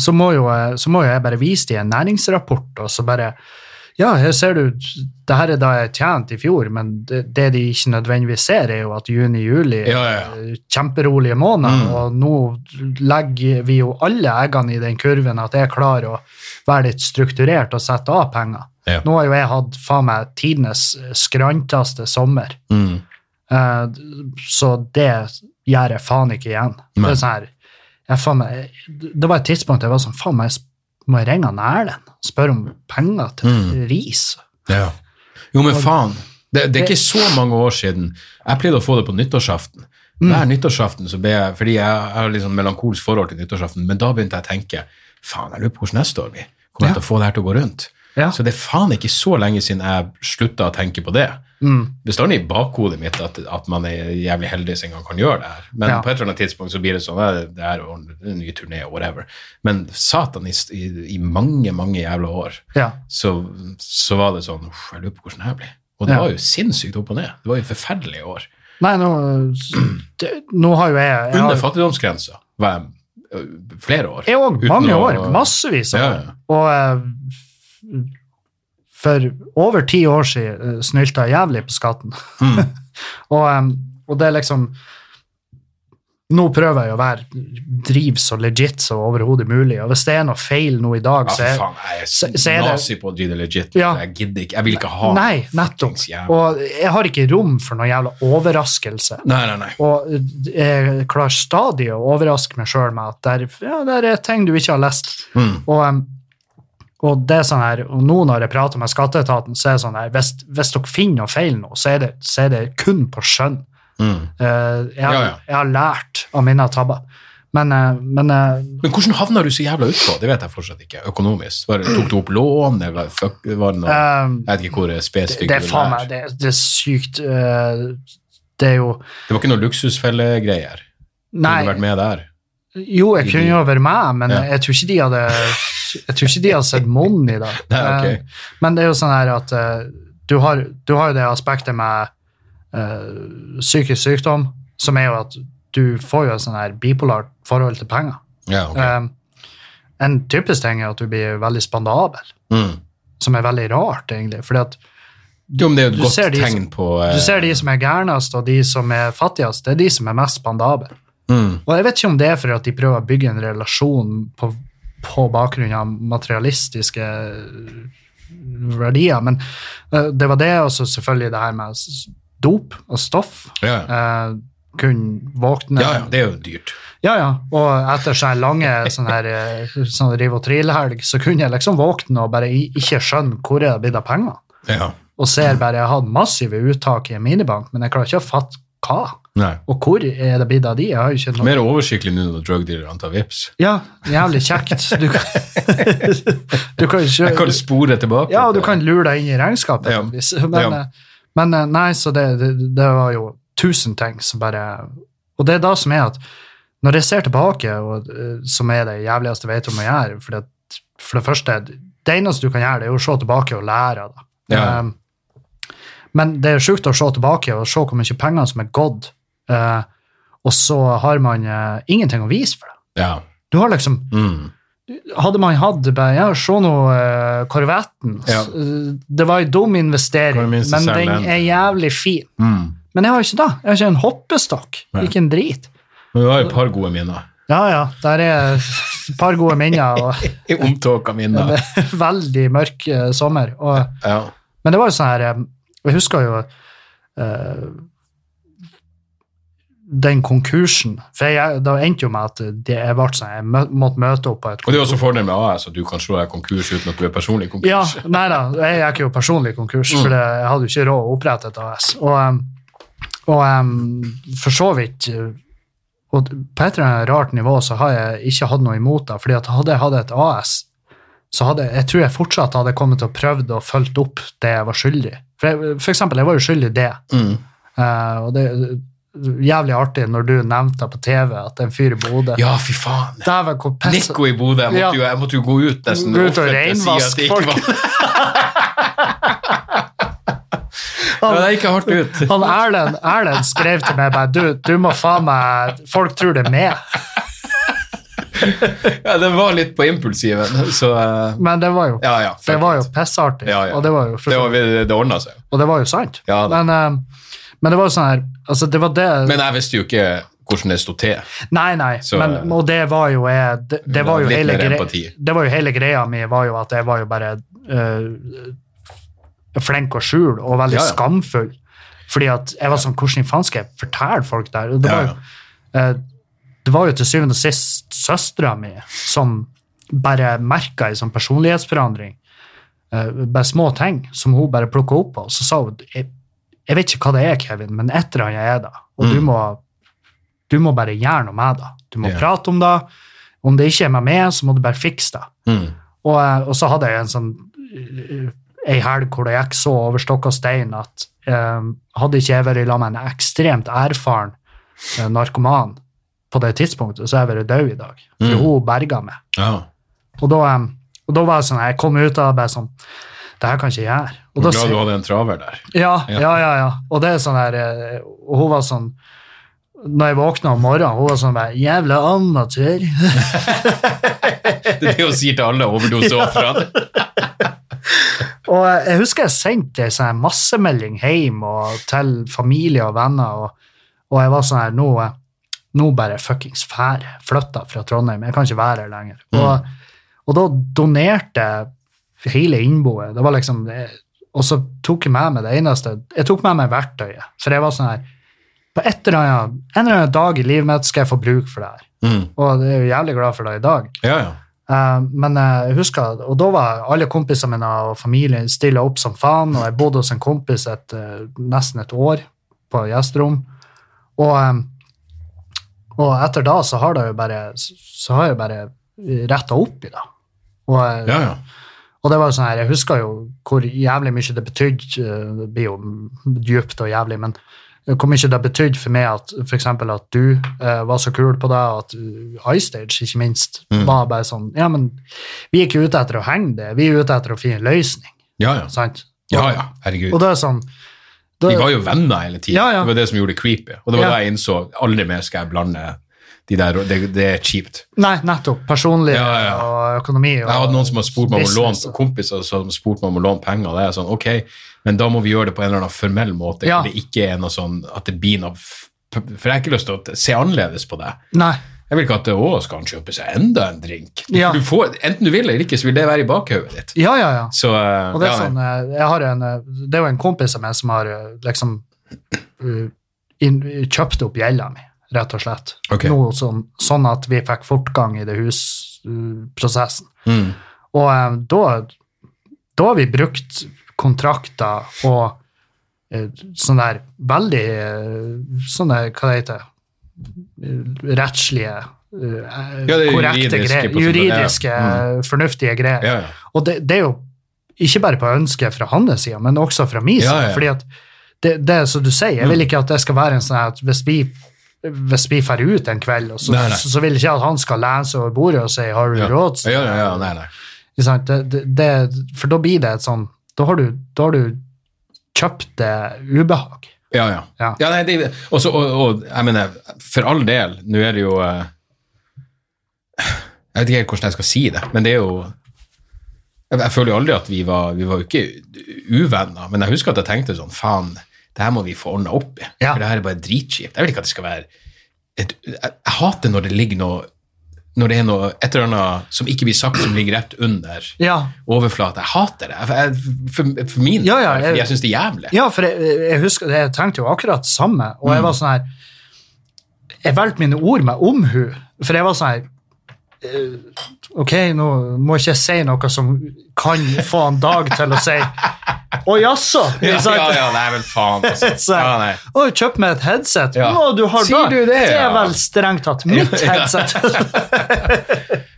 A: så, må jo, jeg- så må jo jeg bare vise dem en næringsrapport, og så bare Ja, her ser du, det her er da jeg tjente i fjor, men det, det de ikke nødvendigvis ser, er jo at juni-juli
B: Ja, ja, Mm. ja.
A: kjemperolige måneder, og nå legger vi jo alle eggene i den kurven at jeg klarer å være litt strukturert og sette av penger.
B: Ja.
A: Nå har jo jeg hatt faen meg tidenes skranteste sommer,
B: Mm.
A: Eh, så det gjør jeg faen ikke igjen. Det
B: Nei.
A: er sånn her, jeg faen meg, det var et tidspunkt jeg var sånn, faen meg, jeg må jeg ringe han Erlend og spørre om penger til
B: Mm.
A: ris.
B: Ja. Jo, men faen. Det, det er ikke så mange år siden. Jeg pleide å få det på nyttårsaften. Hver nyttårsaften så ble jeg, fordi jeg jeg har litt sånn melankolsk forhold til nyttårsaften, men da begynte jeg å tenke faen, jeg lurer på hvordan neste år blir. Kommer jeg til å få det her til å gå rundt?
A: Ja.
B: Så det er faen ikke så lenge siden jeg slutta å tenke på det. Mm. Bestandig i bakhodet mitt at, at man er jævlig heldig som en gang kan gjøre det her. Men
A: Ja.
B: på et eller annet tidspunkt så blir det sånn eh, det er en ny turné, whatever. Men satan, i, i, i mange, mange jævla år
A: Ja.
B: så, så var det sånn Uff, jeg lurer på hvordan det her blir. Og det
A: Ja.
B: var jo sinnssykt opp og ned. Det var jo forferdelige år.
A: Nei, nå, det, nå har jo jeg jeg har-
B: Under fattigdomsgrensa var jeg ø, flere år.
A: Jeg òg.
B: Uten
A: Mange
B: å-
A: år. Massevis av
B: Ja,
A: år.
B: ja.
A: Og eh, for over ti år siden eh, snylta jeg jævlig på skatten.
B: Mm.
A: og, eh, og det er liksom Nå prøver jeg å være driv så legit som overhodet mulig, og hvis det er noe feil nå i dag,
B: Ja,
A: så
B: for
A: er
B: faen, jeg er
A: så- så er det-
B: nazi på å drive det legit.
A: Ja.
B: Jeg gidder ikke. Jeg vil ikke ha
A: Nei, nettopp.
B: fuckings jævla-
A: Og jeg har ikke rom for noen jævla overraskelse.
B: Nei, nei, nei.
A: Og eh, jeg klarer stadig å overraske meg sjøl med at der, ja, der er ting du ikke har lest.
B: Mm,
A: Og, em, og det er sånn her, og nå når jeg prater med skatteetaten, så er det sånn her, hvis, hvis dere finner noe feil nå, så er det, så er det kun på skjønn.
B: mm.
A: Eh, jeg, har-
B: Ja, ja.
A: jeg har lært av mine tabber. Men, eh, men eh,
B: Men hvordan havna du så jævla utpå? Det vet jeg fortsatt ikke. Økonomisk. Var, det- tok du opp lån, eller fuck, var det noe
A: Ehm,
B: Jeg vet ikke hvor eh,
A: det,
B: spesifikt
A: det er
B: vil
A: faen
B: være.
A: meg, det, det er sykt eh, Det er jo
B: Det var ikke noe luksusfellegreier? Kunne du vært
A: Nei,
B: med der?
A: jo, jeg kunne jo vært med, men
B: Ja.
A: jeg tror ikke de hadde jeg tror ikke de hadde sett money da.
B: Nei, ok.
A: Eh, Men det er jo sånn her at eh, du, har, du har jo det aspektet med eh, psykisk sykdom, som er jo at du får jo et sånn her bipolart forhold til penger.
B: Ja, ok.
A: Eh, en typisk ting er at du blir veldig spandabel,
B: Mm.
A: som er veldig rart, egentlig. fordi at
B: Jo, men det er jo et
A: Du
B: godt
A: ser de som-
B: tegn på eh,
A: du ser de som er gærnest, og de som er fattigst, det er de som er mest spandabel.
B: mm,
A: Og jeg vet ikke om det er for at de prøver å bygge en relasjon på, på bakgrunn av materialistiske verdier, men eh, det var det, og så selvfølgelig det her med s- dop og stoff.
B: ja, ja.
A: Eh, kunne våkne
B: ja, ja, det er jo dyrt.
A: Ja, ja. Og etter sånne lange sånne her, eh, sånn riv og trill-helg, så kunne jeg liksom våkne og bare i- ikke skjønne hvor jeg hadde blitt av pengene.
B: Ja.
A: Og ser
B: Mm.
A: bare jeg hadde massive uttak i en minibank, men jeg klarer ikke å fatte hva.
B: Nei.
A: Og hvor er det blitt av de? Jeg har jo ikke noe
B: Mer oversiktlig nå når drug dealerne tar vips.
A: Ja, jævlig kjekt. Du kan, du kan
B: Jeg kan
A: ikke
B: spore tilbake.
A: Ja, og du
B: til-
A: kan lure deg inn i regnskapet.
B: Ja.
A: på en vis. Men,
B: Ja.
A: eh, men eh, nei, så det, det, det var jo tusen ting som bare Og det er da som er at når jeg ser tilbake, og, eh, som er det jævligste jeg vet om å gjøre For det, for det første, det eneste du kan gjøre, det er jo å se tilbake og lære. da.
B: Ja.
A: Um, men det er sjukt å se tilbake og se hvor mye penger som er gått, eh, og så har man eh, ingenting å vise for det.
B: Ja.
A: Du har liksom
B: Mm.
A: hadde man hatt bare, ja, se nå eh, korvetten.
B: Ja.
A: Eh, Det var en dum
B: Hva er
A: investering,
B: det minste
A: men
B: selv
A: den
B: den?
A: er jævlig fin.
B: Mm.
A: Men jeg har ikke det. Jeg har ikke en hoppestokk.
B: Nei.
A: Ikke en drit.
B: Men du har jo et par gode minner.
A: Ja, ja, der er et par gode minner og
B: I Omtåka minner.
A: veldig mørk eh, sommer. Og,
B: Ja.
A: men det var jo sånn her eh, Jeg husker jo eh, den konkursen. For jeg, det endte jo med at det, jeg, ble sånn, jeg mø- måtte møte opp på et
B: Og det er også fordelen med AS, at du kan slå deg konkurs uten at du er personlig
A: Ja,
B: konkurs.
A: nei da, jeg gikk jo personlig konkurs, for det, jeg hadde jo ikke råd å opprette et AS. Og, em, og em, for så vidt eh, og På et eller annet rart nivå så har jeg ikke hatt noe imot det, fordi at hadde jeg hatt et AS, så hadde jeg tror jeg fortsatt hadde kommet til å prøvd og fulgt opp det jeg var skyldig. For, jeg, for eksempel, jeg var jo skyldig det.
B: Mm.
A: Eh, og det er jævlig artig når du nevnte på TV at en fyr i Bodø
B: Ja, fy faen.
A: Dæven, hvor piss
B: Nico i Bodø.
A: Altså-
B: Jeg,
A: Ja.
B: måtte jo- jeg måtte jo gå ut nesten.
A: Gå ut og
B: offentlig si at det
A: renvaske
B: ikke
A: folk.
B: var- Ja, det gikk hardt ut.
A: Han Erlend, Erlend skrev til meg bare, du, du må faen meg Folk tror det er meg.
B: Ja, den var litt på impulsiven, så eh,
A: Men det var jo,
B: Ja, ja,
A: det var jo
B: faktisk.
A: pissartig.
B: Ja, ja.
A: Og, det var jo,
B: det, var- det det ordna seg.
A: og det var jo sant.
B: Ja, da.
A: men, eh, men det var jo sånn her altså det var det,
B: Men jeg visste jo ikke hvordan det sto til.
A: Nei, nei.
B: Så- eh,
A: men, og det var jo jeg, det, det, var jo
B: Litt
A: hele
B: mer
A: gre-
B: empati.
A: det var jo hele greia mi var jo at jeg var jo bare eh, flink og skjul og veldig
B: Ja, ja.
A: skamfull. Fordi at jeg var sånn Hvordan i faen skal jeg fortelle folk det her? Og Det
B: Ja,
A: var jo, eh, det var jo til syvende og sist søstera mi som bare merka ei sånn personlighetsforandring. Eh, bare små ting som hun bare plukka opp på. Og så sa hun jeg, jeg vet ikke hva det er, Kevin, men et eller annet er det. Og du, må, du må bare gjøre noe med det. Du må
B: Ja.
A: prate om det. Om det ikke er meg med, så må du bare fikse det.
B: Mm.
A: Og, eh, og så hadde jeg en sånn eh, ei helg hvor det gikk så over stokk og stein at eh, hadde ikke jeg vært sammen med en ekstremt erfaren eh, narkoman på det tidspunktet, så hadde jeg vært død i dag. For hun berga meg.
B: Ja.
A: Og da, eh, og da var jeg sånn, jeg kom ut av det bare sånn Det her kan ikke jeg gjøre. Og da,
B: Glad du
A: sier-
B: hadde en traver der.
A: ja,
B: Ja.
A: ja, ja, ja. Og det er sånn her eh, Og hun var sånn Når jeg våkna om morgenen, hun var sånn bare Jævla amatør.
B: Det er det hun sier til alle overdoseofrene.
A: Og jeg husker jeg sendte en sånn her massemelding hjem og til familie og venner, og, og jeg var sånn her, nå, nå bare fuckings fær, flytta fra Trondheim, jeg kan ikke være her lenger. Og, og da donerte jeg hele innboet, det var liksom, og så tok jeg med meg det eneste, jeg tok med meg verktøyet, for jeg var sånn her, på et eller annet, en eller annen dag i livet mitt skal jeg få bruk for det her.
B: Mm.
A: Og jeg er jo jævlig glad for det i dag.
B: Ja, ja.
A: Eh, men eh, jeg husker, og da var alle kompisene mine og familien stilla opp som faen, og jeg bodde hos en kompis et, eh, nesten et år på gjesterom. Og, eh, og etter da så har, det jo bare, så har jeg bare retta opp i det. Og, eh,
B: ja, ja.
A: og det var jo sånn her, jeg husker jo hvor jævlig mye det betydde, eh, det blir jo djupt og jævlig, men eh, hvor mye det betydde for meg at for eksempel at du eh, var så kul på det, og at uh, iStage ikke minst
B: Mm.
A: var bare sånn, ja, men vi er ikke ute etter å henge det, vi er ute etter å finne en løsning,
B: Ja, ja.
A: sant?
B: ja, ja. Herregud.
A: Og det er sånn,
B: Vi var jo venner hele tiden.
A: Ja, ja.
B: Det var det som gjorde det creepy. Og det var
A: Ja.
B: da jeg innså aldri mer skal jeg blande de der, det, det er kjipt.
A: nei, nettopp, personlig
B: Ja, ja, ja.
A: og økonomi. Og,
B: Jeg hadde noen som har spurt meg om å
A: business,
B: låne kompiser som har spurt meg om å låne penger, og det er sånn, ok, men da må vi gjøre det på en eller annen formell måte,
A: Ja.
B: hvor det ikke er noe sånn at det blir noe, f- for jeg har ikke lyst til å se annerledes på det.
A: Nei,
B: Jeg vil ikke at, å, skal han kjøpe seg enda en drink?
A: Ja.
B: Du får, enten du vil eller ikke, så vil det være i bakhøvet ditt.
A: ja, ja, ja.
B: Så, eh,
A: Og det er,
B: ja,
A: sånn,
B: nei.
A: eh, jeg har en, eh, det er jo en kompis av meg som har eh, liksom eh, inn- kjøpt opp gjelda mi, rett og slett.
B: Ok.
A: Noe sånn, sånn at vi fikk fortgang i det husprosessen.
B: Mm.
A: Og eh, da, da har vi brukt kontrakter og eh, sånne der veldig eh, Sånne, hva det heter eh, Rettslige, eh,
B: Ja, det er
A: korrekte
B: juridiske
A: greier.
B: på sånne- ja.
A: Juridiske,
B: Mm.
A: fornuftige greier.
B: Ja, ja.
A: Og det, det er jo ikke bare på ønsket fra hans side, men også fra min side.
B: Ja, Mm. ja.
A: fordi at det, det er som du sier, jeg vil ikke at det skal være en sånn her at hvis vi hvis vi drar ut en kveld, og så,
B: Nei, nei.
A: så vil jeg ikke at han skal lene seg over bordet og si 'har du
B: Ja.
A: råd?'
B: Ja, ja, ja, nei, nei.
A: Ikke sant? Det, det, det, for da blir det et sånn Da har du, da har du kjøpt det ubehag.
B: Ja, ja.
A: Ja.
B: ja nei, det, også, og, og jeg mener, for all del, nå er det jo eh, Jeg vet ikke helt hvordan jeg skal si det, men det er jo Jeg, jeg føler jo aldri at vi var Vi var jo ikke uvenner, men jeg husker at jeg tenkte sånn Faen, det her må vi få ordna opp i.
A: Ja.
B: For det her er bare dritkjipt. Jeg vil ikke at det skal være et, jeg, jeg hater når det ligger noe når det er noe et eller annet som ikke blir sagt, som ligger rett under
A: Ja.
B: overflaten. Jeg hater det. Jeg, jeg, for, for min
A: Ja, ja,
B: jeg,
A: jeg-
B: jeg syns det er jævlig.
A: Ja, for jeg, jeg husker, jeg tenkte jo akkurat det samme, og jeg var
B: Mm.
A: sånn her Jeg valgte mine ord med omhu, for jeg var sånn her eh, Ok, nå må ikke jeg si noe som kan få en Dag til å si Å, jaså? Ikke
B: Ja, ja,
A: sant?
B: ja, nei, men faen, altså.
A: Så
B: Ja,
A: jeg,
B: nei.
A: Å, kjøp meg et headset.
B: Ja.
A: Å, du har
B: Sier du det,
A: er
B: ja?
A: vel strengt tatt mitt headset.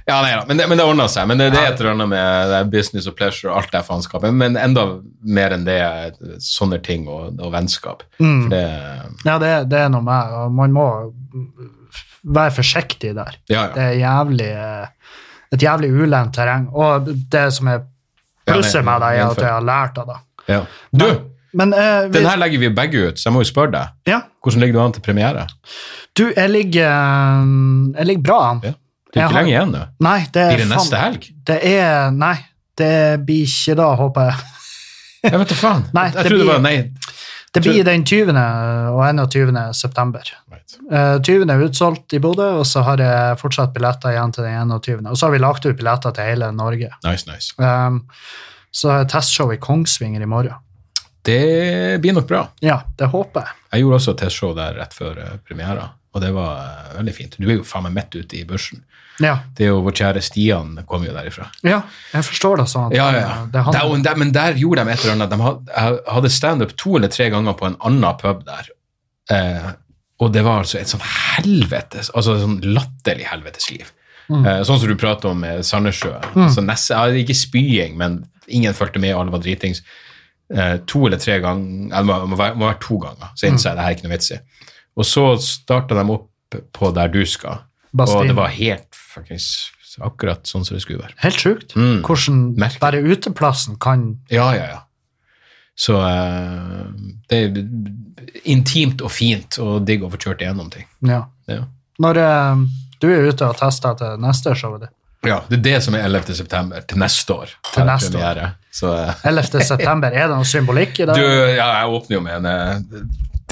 B: Ja, nei, da. Men, det, men det ordner seg. Men det, det er et eller annet med det er business og pleasure og alt det faenskapet. Men enda mer enn det er sånne ting og, og vennskap.
A: Mm.
B: For det,
A: ja, det, det er noe med og Man må være forsiktig der.
B: ja,
A: Det
B: ja.
A: er jævlig, eh, et jævlig ulendt terreng. Og det som er
B: Ja,
A: plusset
B: det-
A: med det, er at
B: innenfor.
A: jeg har lært av det.
B: ja. Du,
A: Men eh, vi,
B: den her legger vi begge ut, så jeg må jo spørre deg.
A: ja,
B: Hvordan ligger du an til premiere?
A: du, jeg ligger, eh, jeg ligger bra an.
B: Ja. Det er
A: Jeg
B: ikke
A: har-
B: lenge igjen nå.
A: Nei, det er
B: Blir det
A: faen-
B: neste helg?
A: Det er Nei, det blir ikke da, håper jeg.
B: Jeg vet da faen.
A: Nei,
B: jeg
A: det
B: trodde det
A: blir-
B: var Nei.
A: Det
B: Tror-
A: blir den 20. og 21. september. Eh, 20. er utsolgt i Bodø, og så har jeg fortsatt billetter igjen til den 21. Og så har vi lagt ut billetter til hele Norge. Eh,
B: Nice, nice.
A: Um, så har jeg testshow i Kongsvinger i morgen.
B: Det blir nok bra.
A: Ja, det håper jeg.
B: Jeg gjorde også et testshow der rett før eh, premiera, og det var eh, veldig fint. Du er jo faen meg midt ute i børsen.
A: Ja,
B: Det er jo vår kjære Stian kommer jo derifra.
A: ja jeg forstår det sånn. at,
B: Ja, ja.
A: eh,
B: ja.
A: Det er han.
B: Der, der, men der gjorde de et eller annet. De had- jeg hadde standup to eller tre ganger på en annen pub der. Eh, og det var altså et sånn helvetes, altså et sånn latterlig helvetes liv.
A: Mm.
B: Eh, sånn som du prater om med Sandnessjø. Så nesse, ja, ikke spying, men ingen fulgte med, alle var dritings. Eh, to eller tre ganger, eller det må, må, være, må være to ganger,
A: Mm.
B: så innså jeg det her er ikke noe vits i. Og så starta de opp på der du skal,
A: Bastien.
B: og det var helt fuckings akkurat sånn som det skulle være.
A: Helt sjukt.
B: Mm.
A: Hvordan
B: Merkelig.
A: bare uteplassen kan
B: Ja, ja, ja. Så eh, det er intimt og fint og digg å få kjørt igjennom ting.
A: Ja.
B: Ja.
A: Når eh, du er ute og tester til neste showet ditt
B: ja, det er det som er 11. september til neste år.
A: Til neste år.
B: Premiere. Så eh,
A: 11. september, er det noe symbolikk i det?
B: du, ja, jeg åpner jo med en eh,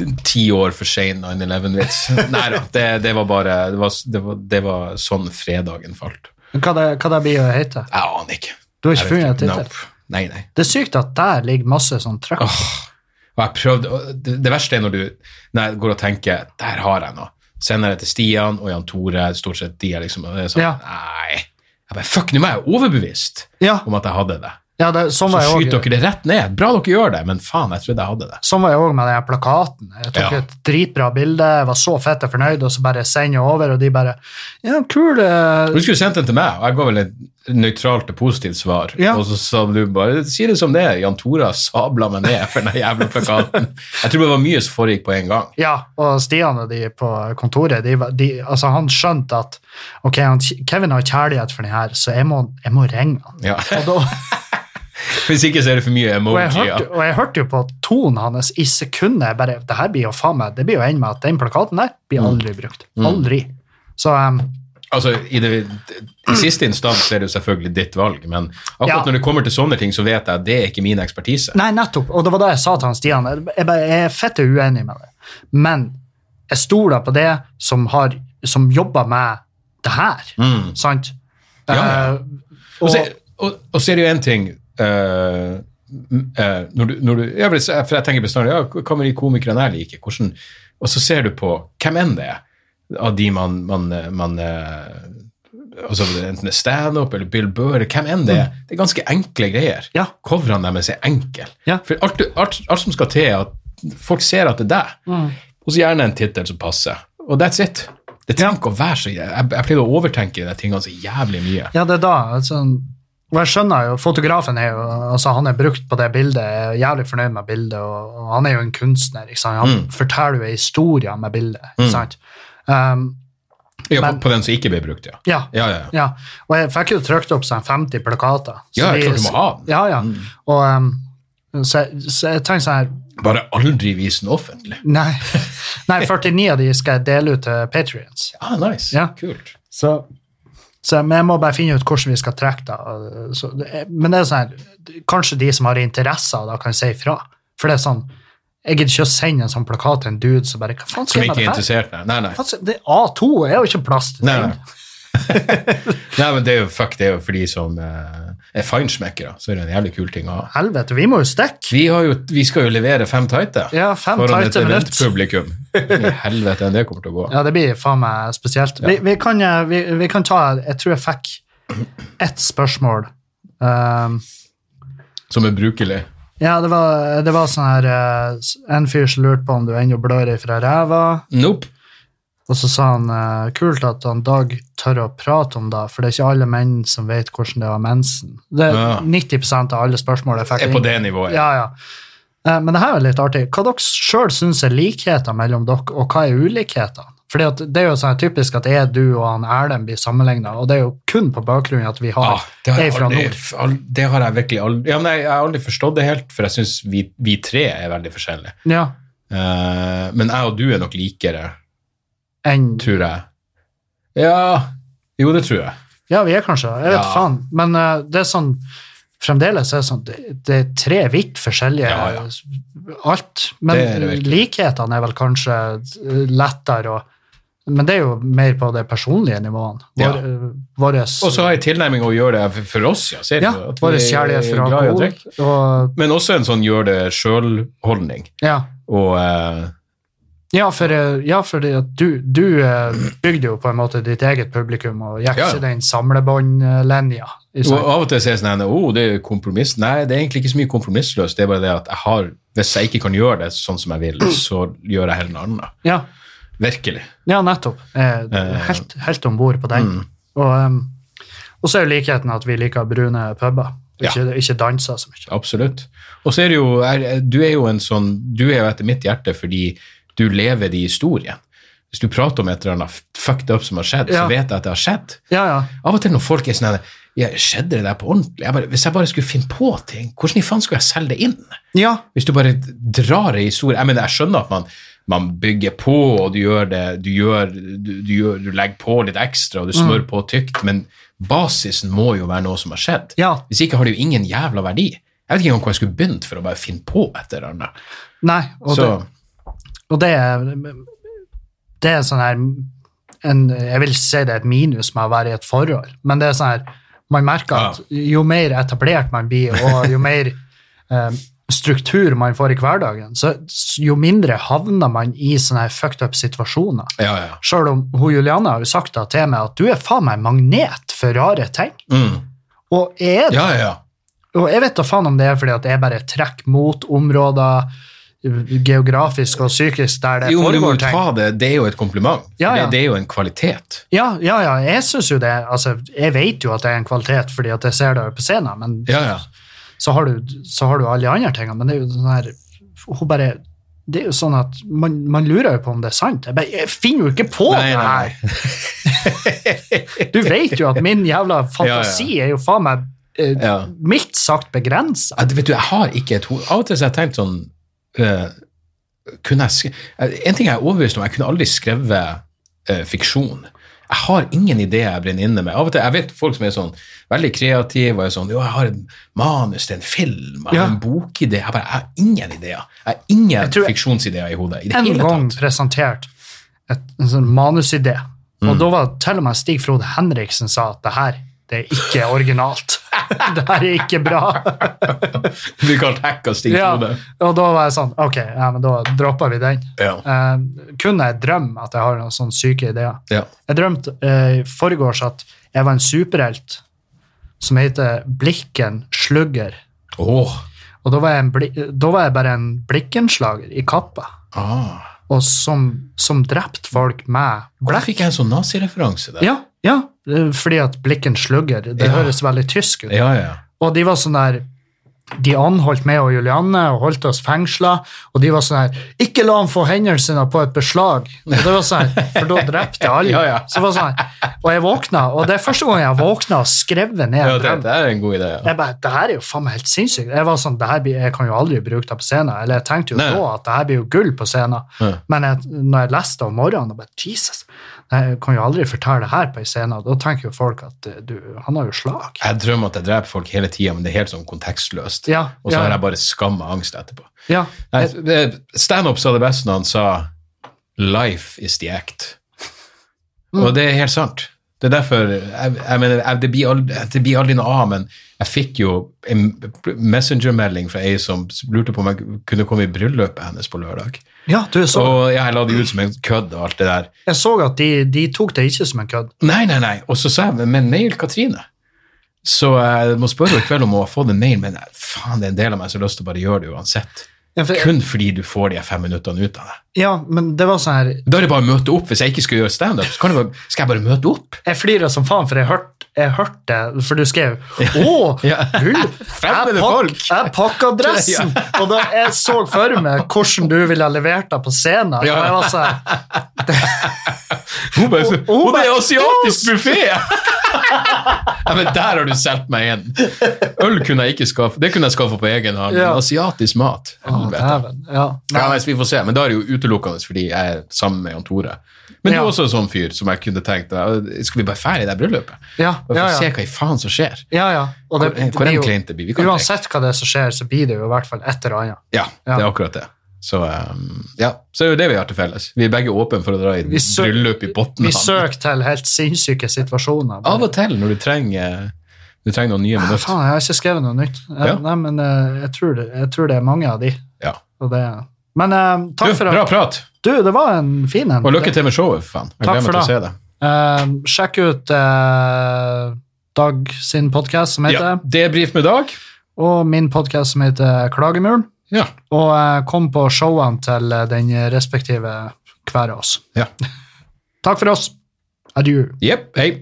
B: t- ti år for sein 9-11-vits. Nei da, det, det var bare det var, det, var, det var sånn fredagen falt.
A: Hva, det, hva det blir å hete?
B: Jeg aner ikke.
A: Du har
B: Jeg
A: ikke
B: vet
A: funnet en tittel?
B: Nope. Nei, nei.
A: Det er sykt at der ligger masse sånn
B: Ah,
A: trøkk.
B: Og jeg prøvde, og det, det verste er når du når jeg går og tenker der har jeg noe. Sender det til Stian og Jan Tore. stort sett de er liksom, og det er sånn,
A: Ja.
B: nei, jeg bare, fuck, Nå er jeg overbevist
A: Ja,
B: om at jeg hadde det.
A: ja det, sånn,
B: Så
A: var jeg
B: skyter
A: også,
B: dere det rett ned. Bra dere gjør det, men faen, jeg trodde jeg hadde det.
A: sånn var jeg òg med den her plakaten. Jeg tok
B: Ja.
A: et dritbra bilde, jeg var så fette fornøyd, og så bare sender jeg over, og de bare Ja, kul eh,
B: Du skulle sendt den til meg, og jeg ga vel et nøytralt og positivt svar.
A: Ja.
B: Og så sa du bare si det som det er. Jan Tore sabla meg ned for den jævla plakaten. Jeg tror det var mye som foregikk på en gang.
A: Ja, og Stian og de på kontoret, de, var- de, altså han skjønte at ok, han, Kevin har kjærlighet for den her, så jeg må, jeg må ringe han.
B: Ja.
A: Og, da,
B: Hvis ikke så er det for mye
A: og, jeg
B: emoji. ja.
A: hørte, og jeg hørte jo på tonen hans i sekundet jeg bare, det her blir jo faen meg, det blir jo en med at den plakaten der blir aldri brukt. Aldri. Så um,
B: Altså, i, det, I siste instans er det jo selvfølgelig ditt valg, men akkurat
A: Ja.
B: når det kommer til sånne ting, så vet jeg at det er ikke min ekspertise.
A: Nei, nettopp. Og det var det jeg sa til han Stian. Jeg, bare, jeg er fette uenig med det. Men jeg stoler på det som, har, som jobber med det her. Sant?
B: Ja, ja.
A: Eh, og,
B: Og så, og, og så er det jo én ting eh, m- eh, når du, når du, ja, for jeg- For jeg tenker bestandig ja, hva med de komikerne jeg liker? Hvordan, og så ser du på hvem enn det er av de man, man, eh, man eh, altså Enten det er standup eller Bill Burr, eller hvem enn det er. Det er ganske enkle greier.
A: Mm. Ja.
B: Coverene deres er enkle.
A: Ja.
B: For alt, du- alt, alt som skal til, er at folk ser at det er deg.
A: Mm.
B: Og så gjerne en tittel som passer. Og that's it. Det trenger ikke å være så Jeg, jeg pleide å overtenke de tingene så jævlig mye.
A: ja, det er da. Altså, og jeg skjønner jo, fotografen er jo, altså han er brukt på det bildet, jeg er jævlig fornøyd med bildet, og, og han er jo en kunstner, ikke sant? Han
B: Mm.
A: forteller jo en historie med bildet, ikke sant? Um,
B: Ja,
A: Men-
B: på, på den som ikke ble brukt, ja.
A: ja,
B: Ja, ja, ja.
A: Ja, og jeg fikk jo trykt opp sånn 50 plakater. Så
B: Ja, jeg
A: de-
B: tror du må ha Mm. den.
A: Ja, ja. Og, um, så, så jeg tenkte sånn her
B: Bare aldri vis den offentlig.
A: Nei, nei 49 av de skal jeg dele ut til Patrions.
B: Ah, nice.
A: Ja.
B: Kult.
A: Så, så men jeg må bare finne ut hvordan vi skal trekke det. og Så, det- men det er sånn her, kanskje de som har interesse av det, kan si ifra. For det er sånn Jeg gidder ikke å sende en sånn plakat til en dude som bare Hva faen
B: Som
A: skal jeg med
B: ikke er
A: det her?
B: interessert, nei. Nei, nei.
A: Hva skal- det- A2 er jo ikke plass til
B: nei,
A: ting.
B: nei. nei, men det er jo fuck, det er jo for de som eh, er feinschmeckere, så er det en jævlig kul ting å ha.
A: Helvete, vi må jo stikke.
B: Vi, har jo, vi skal jo levere fem tighte
A: Ja, fem
B: foran et
A: tighte minutt.
B: eventpublikum. I helvete enn det kommer til å gå.
A: Ja, det blir faen meg spesielt. Vi, vi, kan, eh, vi, vi kan ta Jeg tror jeg fikk ett spørsmål. Um,
B: Som er brukelig.
A: ja, det var, det var sånn her eh, s- En fyr som lurte på om du ennå blør ifra ræva,
B: Nope.
A: og så sa han eh, kult at han Dag tør å prate om det, for det er ikke alle menn som vet hvordan det er å ha mensen. Det er
B: Ja.
A: 90 av alle spørsmål jeg fikk.
B: Er på
A: inn.
B: det nivået.
A: Ja, ja. Eh, Men det her er litt artig. Hva dere sjøl syns er likheter mellom dere, og hva er ulikhetene? Fordi at Det er jo sånn typisk at jeg, du og han Erlend blir sammenligna, og det er jo kun på bakgrunn av at vi har
B: Ah, det, har
A: er
B: jeg
A: fra
B: aldri,
A: nord.
B: al- det har jeg virkelig aldri ja, nei, Jeg har aldri forstått det helt, for jeg syns vi, vi tre er veldig forskjellige.
A: Ja,
B: Eh, men jeg og du er nok likere,
A: enn,
B: tror jeg. Ja Jo, det tror jeg.
A: ja, vi er kanskje Jeg vet
B: Ja.
A: faen. Men eh, det er sånn Fremdeles er det sånn Det, det er tre vidt forskjellige
B: Ja, ja.
A: alt. Men
B: Det er det virkelig.
A: likhetene er vel kanskje eh, lettere å Men det er jo mer på det personlige nivået. Vår, eh,
B: Ja.
A: våre,
B: Og så har jeg tilnærming å gjøre det for oss, ja. Ser du?
A: ja,
B: At vi
A: vår
B: er
A: kjærlighet for
B: glad i å
A: alkohol.
B: drikke.
A: Og,
B: Men også en sånn gjør det sjøl-holdning.
A: ja.
B: Og eh,
A: Ja, for, eh, ja, fordi at du, du eh, bygde jo på en måte ditt eget publikum og gikk
B: Ja, ja.
A: ikke den samlebåndlinja. i
B: Og
A: seg.
B: Av og til sier jeg sånn her, oh, det er kompromiss. Nei, det er egentlig ikke så mye kompromissløst. Det er bare det at jeg har, hvis jeg ikke kan gjøre det sånn som jeg vil, så gjør jeg heller noe annet.
A: Ja,
B: Virkelig.
A: ja nettopp. Eh, helt helt om bord på den. Og, em, og så er jo likheten at vi liker brune puber.
B: Ja.
A: Ikke, ikke danser så mye.
B: Absolutt. Og så er det jo, er, du er jo en sånn, du er jo etter mitt hjerte fordi du lever de historiene. Hvis du prater om et eller annet fucked up som har skjedd,
A: Ja.
B: så vet jeg at det har skjedd.
A: Ja, ja.
B: Av og til når folk er sånn her, ja, skjedde det der på ordentlig? Jeg bare, hvis jeg bare skulle finne på ting, hvordan i faen skulle jeg selge det inn?
A: Ja,
B: Hvis du bare drar ei historie Jeg mener, jeg skjønner at man, man bygger på, og du gjør det du, gjør, du, du, gjør, du legger på litt ekstra,
A: Mm.
B: og du smører på tykt, men basisen må jo være noe som har skjedd.
A: Ja.
B: Hvis ikke har det jo ingen jævla verdi. Jeg vet ikke engang hvor jeg skulle begynt for å bare finne på et eller annet.
A: Nei, og,
B: Så,
A: det, og det er Det er sånn her en, Jeg vil si det er et minus med å være i et forhold, men det er sånn her Man merker at jo mer etablert man blir, og jo mer eh, struktur man får i hverdagen, så s- jo mindre havner man i sånne her fucked up situasjoner.
B: ja, ja.
A: Sjøl om hun Juliana har jo sagt da til meg at du er faen meg magnet for rare ting.
B: Mm.
A: Og jeg er det.
B: ja, ja, ja.
A: Og jeg vet da faen om det er fordi at jeg bare trekker mot områder geografisk og psykisk der det
B: Jo, men du må
A: foregår
B: jo ta
A: ting.
B: det. Det er jo et kompliment. For
A: Ja, ja.
B: Det, det er jo en kvalitet.
A: Ja, ja, ja, jeg synes jo det. Altså, jeg vet jo at det er en kvalitet fordi at jeg ser det på scenen, men
B: Ja, ja.
A: så, har du, så har du alle de andre tingene. Men det er jo sånn her Hun bare Det er jo sånn at man, man lurer jo på om det er sant. Jeg, bare, jeg finner jo ikke på
B: Nei,
A: det
B: nei,
A: her! Du vet jo at min jævla fantasi er jo faen meg eh,
B: Ja.
A: mildt sagt begrensa.
B: Ja, det- vet du, jeg har ikke et hode. Av og til så har jeg tenkt sånn eh, kunne jeg, sk- eh, En ting jeg er overbevist om, jeg kunne aldri skrevet eh, fiksjon. Jeg har ingen ideer jeg brenner inne med. Av og til, Jeg vet folk som er sånn veldig kreative og er sånn Jo, jeg har et manus til en film, jeg har
A: Ja.
B: en bokidé Jeg bare, jeg har ingen ideer. Jeg har ingen
A: tror jeg-
B: fiksjonsideer i hodet. i det
A: en
B: hele
A: gang
B: tatt.
A: presentert et, en sånn manusidé,
B: Mm.
A: og da var til og med Stig Frode Henriksen sa at det her, det er ikke originalt. det her er ikke bra.
B: Blir kalt hacka Stig
A: ja.
B: Frode.
A: Og da var jeg sånn, ok, ja, men da dropper vi den.
B: Ja.
A: Eh, kunne jeg drømme at jeg har noen sånne syke ideer?
B: Ja.
A: Jeg drømte eh, i forgårs at jeg var en superhelt som heter Blikken Slugger.
B: Åh.
A: Og da var jeg, en bli, da var jeg bare en blikkenslager i kappa,
B: Ah.
A: og som, som drept folk med
B: Der fikk jeg en sånn nazireferanse der.
A: Ja, ja. eh, Fordi at blikken slugger. Det
B: Ja.
A: høres veldig tysk ut.
B: ja, ja.
A: Og de var sånn der De anholdt meg og Julianne og holdt oss fengsla, og de var sånn her Ikke la ham få hendene sine på et beslag! Og det var sånn her, For da drepte jeg alle.
B: Ja, ja.
A: Så det var sånn her, Og jeg våkna, og det er første gang jeg våkna og skrev ned
B: ja det,
A: drømmen.
B: det er en god idé. Ja.
A: Jeg bare, det her er jo faen meg helt sinnssykt. Jeg var sånn, det her blir, jeg kan jo aldri bruke det på scenen. Eller jeg tenkte jo
B: Nei.
A: da at det her blir jo gull på scenen.
B: Ja.
A: Men jeg, når jeg leste det om morgenen, jeg bare, Jesus, nei, jeg kan jo aldri fortelle det her på en scene. Da tenker jo folk at eh, du, han har jo slag.
B: Jeg drømmer at jeg dreper folk hele tida, men det er helt sånn kontekstløst.
A: Ja,
B: og så
A: ja.
B: har jeg bare skam og angst etterpå.
A: Ja,
B: Nei, det- Standup sa det best når han sa 'life is the act'.
A: Mm.
B: Og det er helt sant. Det er derfor jeg, jeg mener, jeg, det, blir aldri, det blir aldri noe av, men jeg fikk jo en messengermelding fra ei som lurte på om jeg kunne komme i bryllupet hennes på lørdag.
A: ja du så,
B: Og jeg la det ut som en kødd og alt det der.
A: jeg så at de, de tok det ikke som en kødd.
B: Nei, nei, nei. Og så sa jeg, men mail Katrine. Så jeg må spørre henne i kveld om hun har fått en mail, men eh, faen, det er en del av meg som har lyst til å bare gjøre det uansett.
A: Ja, for-
B: Kun fordi du får de fem minuttene ut av det.
A: Ja, men det var sånn her,
B: Da er det bare å møte opp. Hvis jeg ikke skal gjøre standup, så kan jeg bare, skal jeg bare møte opp.
A: jeg flirer som faen, for jeg hørte jeg hørte det, for du skrev Åh,
B: Ja.
A: gull! Jeg,
B: Fremmede
A: pakk,
B: folk.
A: jeg pakka dressen! Og da jeg så for meg hvordan du ville ha levert deg på scenen. Og
B: Ja.
A: jeg var sånn,
B: Hun bare så,
A: hun
B: «Å, det er
A: bare-
B: asiatisk buffé! ja, men der har du solgt meg igjen. Øl kunne jeg ikke skaffe. Det kunne jeg skaffe på egen hånd.
A: Ja.
B: men Asiatisk mat.
A: «Å,
B: Helvete.
A: dæven. Ja.
B: Ja, nei, så vi får se. Men da er det jo utelukkende fordi jeg er sammen med Jan Tore. Men du
A: Ja.
B: er også en sånn fyr som jeg kunne tenkt eh, Skal vi bare fære i det bryllupet?
A: Ja,
B: Bare for
A: ja,
B: å se
A: ja.
B: hva i faen som skjer.
A: ja, ja. Og
B: Hvor- hvor
A: blir
B: enn
A: jo-
B: kleint det blir, vi kan
A: Uansett hva det er som skjer, så blir det jo i hvert fall et eller annet.
B: Ja,
A: Ja.
B: det er akkurat det. Så, um, ja. så det er jo det vi har til felles. Vi er begge åpne for å dra i et
A: Vi sø-
B: bryllup i
A: Vi
B: Botnland.
A: søker til helt sinnssyke situasjoner.
B: Av og til når du trenger, du trenger noen nye
A: Ja,
B: minutter.
A: faen, jeg har ikke skrevet noe nytt. Eh,
B: Ja.
A: Nei, men eh, jeg tror, det, jeg tror det er mange av de.
B: Ja.
A: Og det, men eh,
B: Du,
A: takk for
B: bra
A: at
B: prat!
A: Du, det var en fin en.
B: Og lykke til med showet, for faen. Jeg
A: Takk
B: gleder meg
A: for
B: til å se
A: det.
B: det.
A: Eh, sjekk ut eh, Dag sin podkast som heter
B: Ja, Debrif med Dag.
A: Og min podkast som heter Klagemuren.
B: Ja.
A: Og eh, kom på showene til eh, den respektive hver av oss.
B: ja.
A: Takk for oss. Adjø.
B: Jepp. Hei.